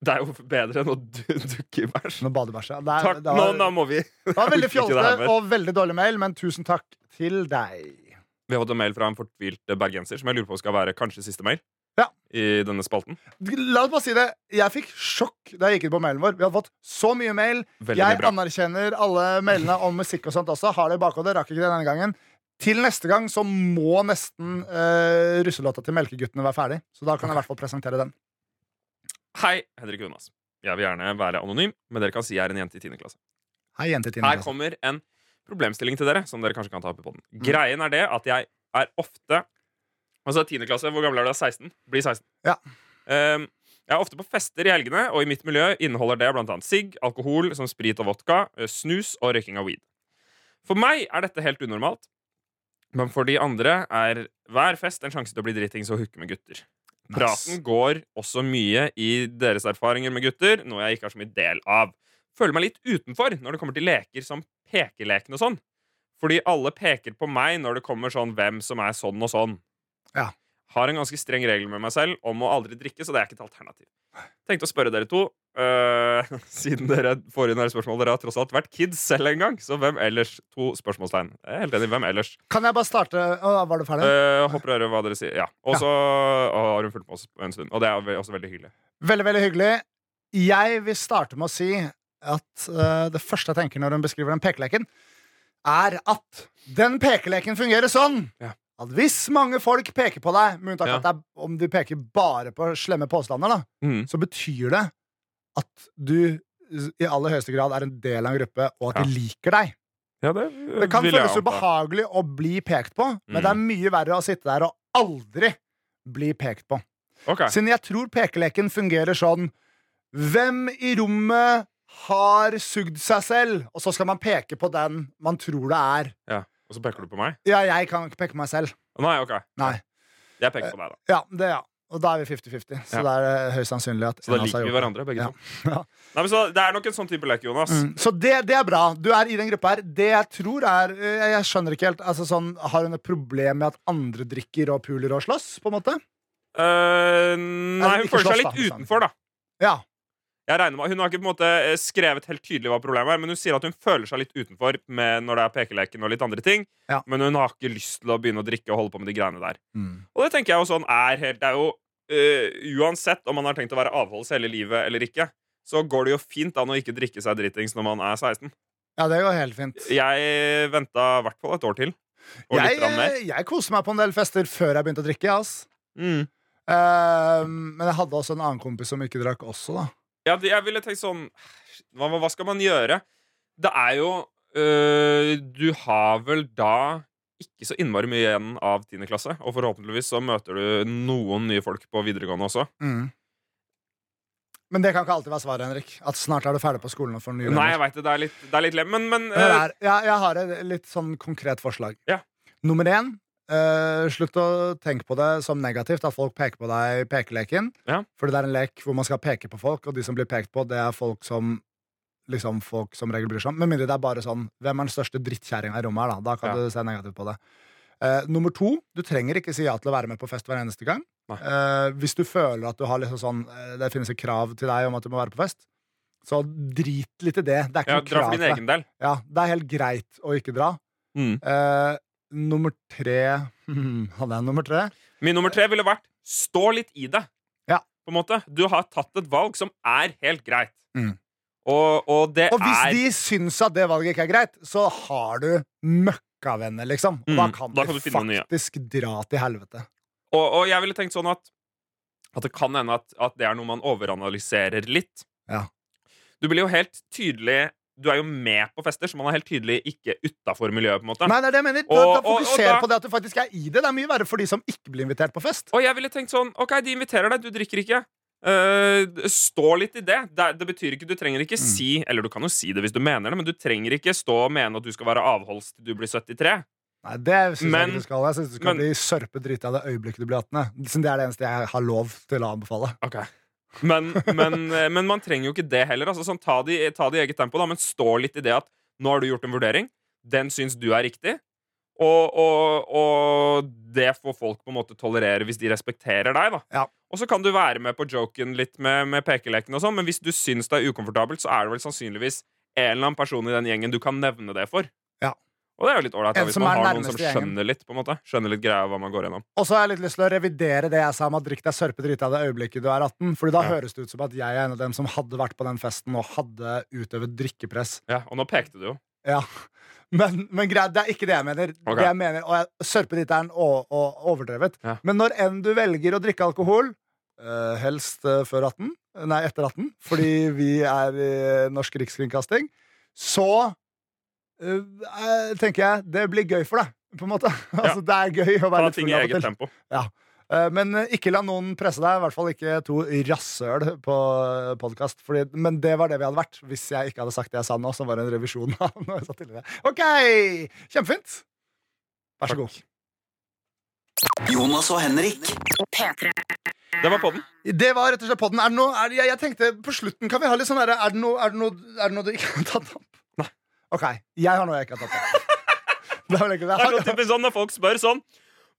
Speaker 1: Det er jo bedre enn å du- dukke i bæsj.
Speaker 2: Noen badebæsja? Det er-
Speaker 1: Takk,
Speaker 2: det
Speaker 1: nå,
Speaker 2: var,
Speaker 1: nå må vi
Speaker 2: det var veldig
Speaker 1: Jeg orker ikke det her
Speaker 2: fjollete
Speaker 1: mer.
Speaker 2: og veldig dårlig mail, men tusen takk til deg.
Speaker 1: Vi har fått en mail fra en fortvilt bergenser Som jeg lurer på skal være kanskje siste mail
Speaker 2: Ja.
Speaker 1: I denne spalten
Speaker 2: La oss bare si det. Jeg fikk sjokk da jeg gikk inn på mailen vår. Vi hadde fått så mye mail.
Speaker 1: Veldig
Speaker 2: jeg
Speaker 1: bra
Speaker 2: anerkjenner alle mailene om musikk og sånt også. Har det i bakhodet. Rakk ikke det denne gangen. Til neste gang så må nesten eh, russelåta til Melkeguttene være ferdig. Så da kan jeg i hvert fall presentere den.
Speaker 1: Hei, Henrik og Jonas Jeg vil gjerne være anonym Men dere kan si jeg er en jente i 10. klasse
Speaker 2: Hei, jente i tiende
Speaker 1: Her
Speaker 2: klasse. Mm.
Speaker 1: kommer en problemstilling til dere Som dere kanskje kan ta opp i podden Greien er det at jeg er ofte Altså 10. klasse, hvor gammel er du? 16? Blir 16
Speaker 2: Ja.
Speaker 1: Ehm, Jeg er ofte på fester i helgene Og i mitt miljø inneholder det blant annet sigg, alkohol Som sprit og vodka, eh, snus og røyking av weed For meg er dette helt unormalt Men for de andre er hver fest en sjanse til å bli dritings og hooke med gutter
Speaker 2: Nice.
Speaker 1: Praten går også mye i deres erfaringer med gutter, noe jeg ikke har så mye del av. Føler meg litt utenfor når det kommer til leker som pekeleken og sånn. Fordi alle peker på meg når det kommer sånn hvem som er sånn og sånn.
Speaker 2: Ja.
Speaker 1: Har en ganske streng regel med meg selv om å aldri drikke, så det er ikke et alternativ. Tenkte å spørre dere to, øh, siden dere får inn her spørsmål Dere har tross alt vært kids selv en gang, så hvem ellers? To spørsmålstegn. Jeg er helt enig. Hvem ellers?
Speaker 2: Kan jeg bare starte? Å, var du ferdig?
Speaker 1: Eh, håper dere hva dere sier. Ja. Og så og har hun fulgt med oss en stund. Og det er ve- også veldig hyggelig.
Speaker 2: Veldig, veldig hyggelig. Jeg vil starte med å si eh, at eh, det første jeg tenker når hun beskriver den pekeleken, er at den pekeleken fungerer sånn
Speaker 1: Ja.
Speaker 2: at hvis mange folk peker på deg, med unntak av
Speaker 1: Ja.
Speaker 2: at det er om de peker bare på slemme påstander, da,
Speaker 1: Mhm.
Speaker 2: så betyr det at du i aller høyeste grad er en del av en gruppe, og at de liker deg.
Speaker 1: Ja, det, øh,
Speaker 2: Det kan
Speaker 1: vil jeg
Speaker 2: føles
Speaker 1: anta.
Speaker 2: ubehagelig å bli pekt på, men
Speaker 1: Mm.
Speaker 2: det er mye verre å sitte der og aldri bli pekt på.
Speaker 1: Ok.
Speaker 2: Siden jeg tror pekeleken fungerer sånn Hvem i rommet har sugd seg selv? Og så skal man peke på den man tror det er.
Speaker 1: Ja. Og så peker du på meg?
Speaker 2: Ja, jeg kan ikke peke på meg selv.
Speaker 1: Nei, ok.
Speaker 2: Nei.
Speaker 1: Jeg peker på deg, da.
Speaker 2: Ja, det ja. Og da er vi 50-50,
Speaker 1: Ja.
Speaker 2: så det er eh, høyst sannsynlig at
Speaker 1: Så da
Speaker 2: en av oss har
Speaker 1: liker vi
Speaker 2: gjort det.
Speaker 1: hverandre, begge
Speaker 2: Ja.
Speaker 1: to.
Speaker 2: Ja.
Speaker 1: Nei, men så Det er nok en sånn type lek, Jonas.
Speaker 2: Mm. Så det, det er bra. Du er i den gruppa her. Det jeg tror er eh, Jeg, jeg skjønner ikke helt altså, sånn, Har hun et problem med at andre drikker og puler og slåss? På en måte?
Speaker 1: Eh, nei, hun
Speaker 2: Ikke
Speaker 1: føler seg
Speaker 2: slåss,
Speaker 1: litt
Speaker 2: da,
Speaker 1: utenfor,
Speaker 2: for
Speaker 1: da.
Speaker 2: Ja.
Speaker 1: Jeg regner med, Hun har ikke på en måte eh, skrevet helt tydelig hva problemet er, men hun sier at hun føler seg litt utenfor med når det er pekeleken og litt andre ting.
Speaker 2: Ja.
Speaker 1: Men hun har ikke lyst til å begynne å drikke og holde på med de greiene der. Og det tenker jeg jo sånn er helt Det er jo eh, Uansett om man har tenkt å være avholds hele livet eller ikke, så går det jo fint an å ikke drikke seg dritings når man er 16.
Speaker 2: Ja, det går helt fint.
Speaker 1: Jeg venta i hvert fall et år til. Og litt
Speaker 2: Jeg,
Speaker 1: grann mer.
Speaker 2: eh, jeg koste meg på en del fester før jeg begynte å drikke. ass.
Speaker 1: Mm.
Speaker 2: Eh, men jeg hadde også en annen kompis som ikke drakk også, da.
Speaker 1: Ja, det- jeg ville tenkt sånn Hva, hva skal man gjøre? Det er jo øh, Du har vel da ikke så innmari mye igjen av 10. klasse. Og forhåpentligvis så møter du noen nye folk på videregående også.
Speaker 2: Mm. Men det kan ikke alltid være svaret, Henrik. At snart er du ferdig på skolen og får nye
Speaker 1: Nei,
Speaker 2: venner.
Speaker 1: jeg veit det. Det er litt, det er litt lem, men, men
Speaker 2: Men det
Speaker 1: øh,
Speaker 2: er- jeg, jeg har et litt sånn konkret forslag.
Speaker 1: Ja.
Speaker 2: Nummer én eh, slutt å tenke på det som negativt at folk peker på deg i pekeleken.
Speaker 1: Ja.
Speaker 2: Fordi det er en lek hvor man skal peke på folk, og de som blir pekt på, det er folk som liksom folk som regel bryr seg om. Med mindre det er bare sånn Hvem er den største drittkjerringa i rommet her, da? Da kan
Speaker 1: Ja.
Speaker 2: du se negativt på det. Eh, nummer to, du trenger ikke si ja til å være med på fest hver eneste gang.
Speaker 1: Nei.
Speaker 2: Eh, hvis du føler at du har liksom sånn eh, det finnes et krav til deg om at du må være på fest, så drit litt i det. Det er ikke
Speaker 1: ja, dra
Speaker 2: noe krav
Speaker 1: for din
Speaker 2: til deg.
Speaker 1: egen del.
Speaker 2: Ja, det er helt greit å ikke dra.
Speaker 1: Mm.
Speaker 2: Eh, nummer tre hmm, Hadde jeg nummer tre?
Speaker 1: Min nummer tre ville vært stå litt i det.
Speaker 2: Ja.
Speaker 1: På en måte. Du har tatt et valg som er helt greit.
Speaker 2: Mm.
Speaker 1: Og, og det
Speaker 2: Og hvis
Speaker 1: er
Speaker 2: de syns at det valget ikke er greit, så har du møkkavenner, liksom. Og da
Speaker 1: Mm,
Speaker 2: kan,
Speaker 1: da kan
Speaker 2: du
Speaker 1: du finne noen nye.
Speaker 2: faktisk dra til helvete.
Speaker 1: Og, og jeg ville tenkt sånn at At det kan hende at, at det er noe man overanalyserer litt.
Speaker 2: Ja.
Speaker 1: Du blir jo helt tydelig Du er jo med på fester, så man er helt tydelig ikke utafor miljøet. på en måte
Speaker 2: Nei, det er det jeg mener.
Speaker 1: Og-
Speaker 2: Da, da
Speaker 1: og- og
Speaker 2: fokuser
Speaker 1: da-
Speaker 2: på det at du faktisk er i det. Det er mye verre for de som ikke blir invitert på fest.
Speaker 1: Og jeg ville tenkt sånn OK, de inviterer deg, du drikker ikke. Eh, stå litt i det. det. Det betyr ikke Du trenger
Speaker 2: Mm.
Speaker 1: ikke si Eller du kan jo si det hvis du mener det, men du trenger ikke stå og mene at du skal være avholds til du blir 73.
Speaker 2: Nei, det synes
Speaker 1: Men-
Speaker 2: Jeg ikke du skal Jeg synes du skal
Speaker 1: men-
Speaker 2: bli sørpedrita det øyeblikket du blir 18. Siden Det er det eneste jeg har lov til å anbefale.
Speaker 1: Ok men, men, eh, men man trenger jo ikke det heller. Altså, sånn, ta, det i- ta det i eget tempo, da, men stå litt i det at nå har du gjort en vurdering. Den syns du er riktig. Og, og, og det får folk på en måte tolerere hvis de respekterer deg. da
Speaker 2: Ja.
Speaker 1: Og så kan du være med på joken litt med, med pekeleken, og sånn men hvis du syns det er ukomfortabelt, så er det vel sannsynligvis en eller annen person i den gjengen du kan nevne det for.
Speaker 2: Ja.
Speaker 1: Og det er jo litt ålreit da,
Speaker 2: En
Speaker 1: hvis
Speaker 2: som
Speaker 1: man
Speaker 2: er
Speaker 1: har noen som
Speaker 2: nærmeste gjengen.
Speaker 1: skjønner litt på en måte Skjønner litt greia hva man går gjennom.
Speaker 2: Og så har jeg litt lyst til å revidere det jeg sa om at drikk deg sørpedrita det øyeblikket du er 18. Fordi da
Speaker 1: Ja.
Speaker 2: høres det ut som at jeg er en av dem som hadde vært på den festen og hadde utøvet drikkepress.
Speaker 1: Ja, Og nå pekte du jo.
Speaker 2: Ja. Men, men greit, det er ikke det jeg mener.
Speaker 1: Ok.
Speaker 2: Det jeg mener og jeg, sørpedrita er en å, å, overdrevet.
Speaker 1: Ja.
Speaker 2: Men når enn du velger å drikke alkohol, eh, helst eh, før 18, nei, etter 18, fordi vi er i Norsk Rikskringkasting, så eh, eh, tenker jeg det blir gøy for deg, på en måte. altså, det er gøy
Speaker 1: Ta
Speaker 2: å være litt
Speaker 1: ting
Speaker 2: full
Speaker 1: i
Speaker 2: av og
Speaker 1: eget
Speaker 2: til.
Speaker 1: tempo.
Speaker 2: Eh, Men eh, ikke la noen presse deg, i hvert fall ikke to rassøl på podkast. Men det var det vi hadde vært hvis jeg ikke hadde sagt det jeg sa nå, som var en revisjon av noe jeg sa tidligere. Ok, Kjempefint! Vær så god.
Speaker 3: Jonas og Henrik.
Speaker 1: Det var podden.
Speaker 2: Det var rett og slett podden. Er det noe, er, det- jeg, jeg tenkte på slutten kan vi ha litt sånn herre er, det noe- er, det noe- er det noe du ikke har tatt opp?
Speaker 1: Nei.
Speaker 2: Ok. Jeg har noe jeg ikke har tatt opp. Det er vel ikke det.
Speaker 1: Det er sånn typisk sånn når folk spør sånn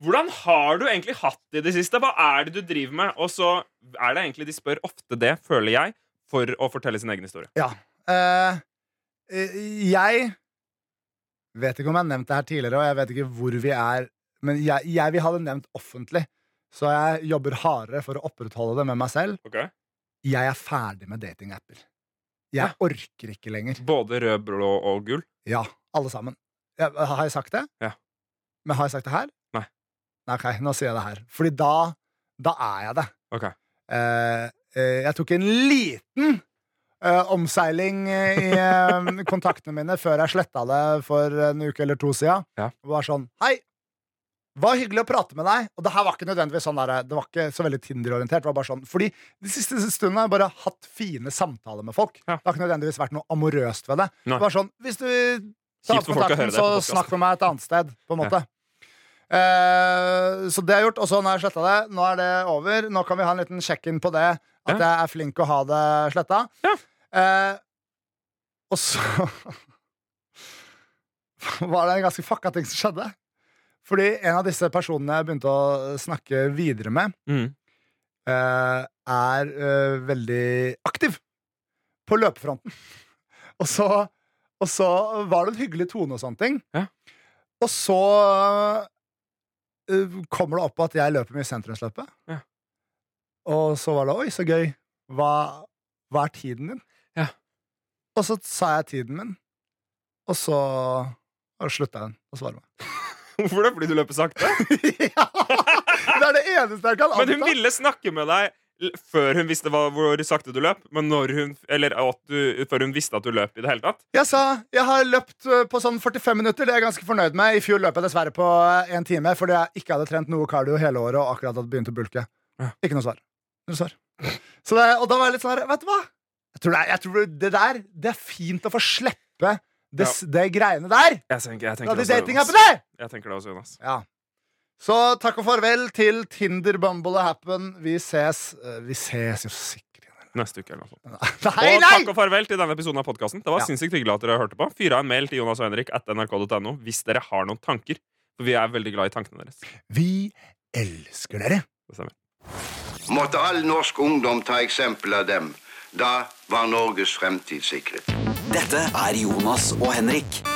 Speaker 1: Hvordan har du egentlig hatt det i det siste? Hva er det du driver med? Og så er det egentlig de spør ofte det, føler jeg, for å fortelle sin egen historie.
Speaker 2: Ja. eh, eh, jeg vet ikke om jeg har nevnt det her tidligere, og jeg vet ikke hvor vi er, men jeg, jeg vil ha det nevnt offentlig. Så jeg jobber hardere for å opprettholde det med meg selv.
Speaker 1: Ok?
Speaker 2: Jeg er ferdig med datingapper. Jeg orker ikke lenger.
Speaker 1: Både rød, blå og gull.
Speaker 2: Ja, alle sammen. Ja, har jeg sagt det?
Speaker 1: Ja.
Speaker 2: Men har jeg sagt det her?
Speaker 1: Nei.
Speaker 2: Nei, Ok, nå sier jeg det her. Fordi da, da er jeg det.
Speaker 1: Ok.
Speaker 2: Eh, eh, jeg tok en liten eh, omseiling eh, i eh, kontaktene mine før jeg sletta det for en uke eller to siden.
Speaker 1: Ja.
Speaker 2: Og var sånn Hei! Var hyggelig å prate med deg. Og det her var ikke nødvendigvis sånn der, det var ikke så veldig Tinder-orientert. det var bare sånn, Fordi de siste stundene har jeg bare hatt fine samtaler med folk.
Speaker 1: Ja.
Speaker 2: Det har ikke nødvendigvis vært noe amorøst ved det.
Speaker 1: Nei.
Speaker 2: Det var sånn, Hvis du
Speaker 1: Kjipt
Speaker 2: tar
Speaker 1: for
Speaker 2: opp
Speaker 1: folk å høre
Speaker 2: kontakten,
Speaker 1: det
Speaker 2: så
Speaker 1: på podcasten.
Speaker 2: snakk med meg et annet sted. på en måte. Eh, så det har jeg gjort, og så nå har jeg sletta det. Nå er det over. Nå kan vi ha en liten check-in på det. At jeg er flink å ha det sletta.
Speaker 1: Ja.
Speaker 2: Eh, og så var det en ganske fucka ting som skjedde. Fordi en av disse personene jeg begynte å snakke videre med,
Speaker 1: Mm.
Speaker 2: eh, er eh, veldig aktiv på løpefronten. Og så, og så var det en hyggelig tone og sånne ting.
Speaker 1: Ja.
Speaker 2: Og så eh, kommer det opp at jeg løper mye i sentrumsløpet.
Speaker 1: Ja.
Speaker 2: Og så var det 'oi, så gøy'. Hva, hva er tiden din?
Speaker 1: Ja.
Speaker 2: Og så sa jeg tiden min, og så og slutta hun å svare meg.
Speaker 1: Hvorfor det? Fordi du løper sakte?
Speaker 2: ja! Det er det eneste jeg kan
Speaker 1: Men hun ville snakke med deg l- før hun visste hva, hvor sakte du løp. Men når hun, eller at du, før hun visste at du løp i det hele tatt.
Speaker 2: Jeg sa jeg har løpt eh, på sånn 45 minutter. Det er jeg ganske fornøyd med. I fjor løp jeg dessverre på én time fordi jeg ikke hadde trent noe cardio hele året og akkurat hadde begynt å bulke.
Speaker 1: Ja.
Speaker 2: Ikke noe svar. Null svar. Så det, og da var jeg litt sånn her Vet du hva? Jeg tror det, er- jeg tror det der Det er fint å få slippe det, s- det greiene der.
Speaker 1: Jeg tenker, jeg
Speaker 2: Da
Speaker 1: tenker
Speaker 2: de
Speaker 1: også, altså.
Speaker 2: datingappene!
Speaker 1: Jonas. Jeg tenker det også, Jonas.
Speaker 2: Ja. Så takk og farvel til Tinder, Bumble og Happen. Vi ses. eh, Vi ses jo sikkert igjen.
Speaker 1: Neste uke. eller noe sånt.
Speaker 2: Nei,
Speaker 1: og
Speaker 2: nei!
Speaker 1: takk og farvel til denne episoden av podkasten. Det var
Speaker 2: Ja.
Speaker 1: sinnssykt hyggelig at dere hørte på. Fyr av en mail til Jonas og Henrik at nrk.no hvis dere har noen tanker. For vi er veldig glad i tankene deres.
Speaker 2: Vi elsker dere.
Speaker 1: Det stemmer.
Speaker 4: Måtte all norsk ungdom ta eksempel av dem. Da var Norges fremtid sikret.
Speaker 3: Dette er Jonas og Henrik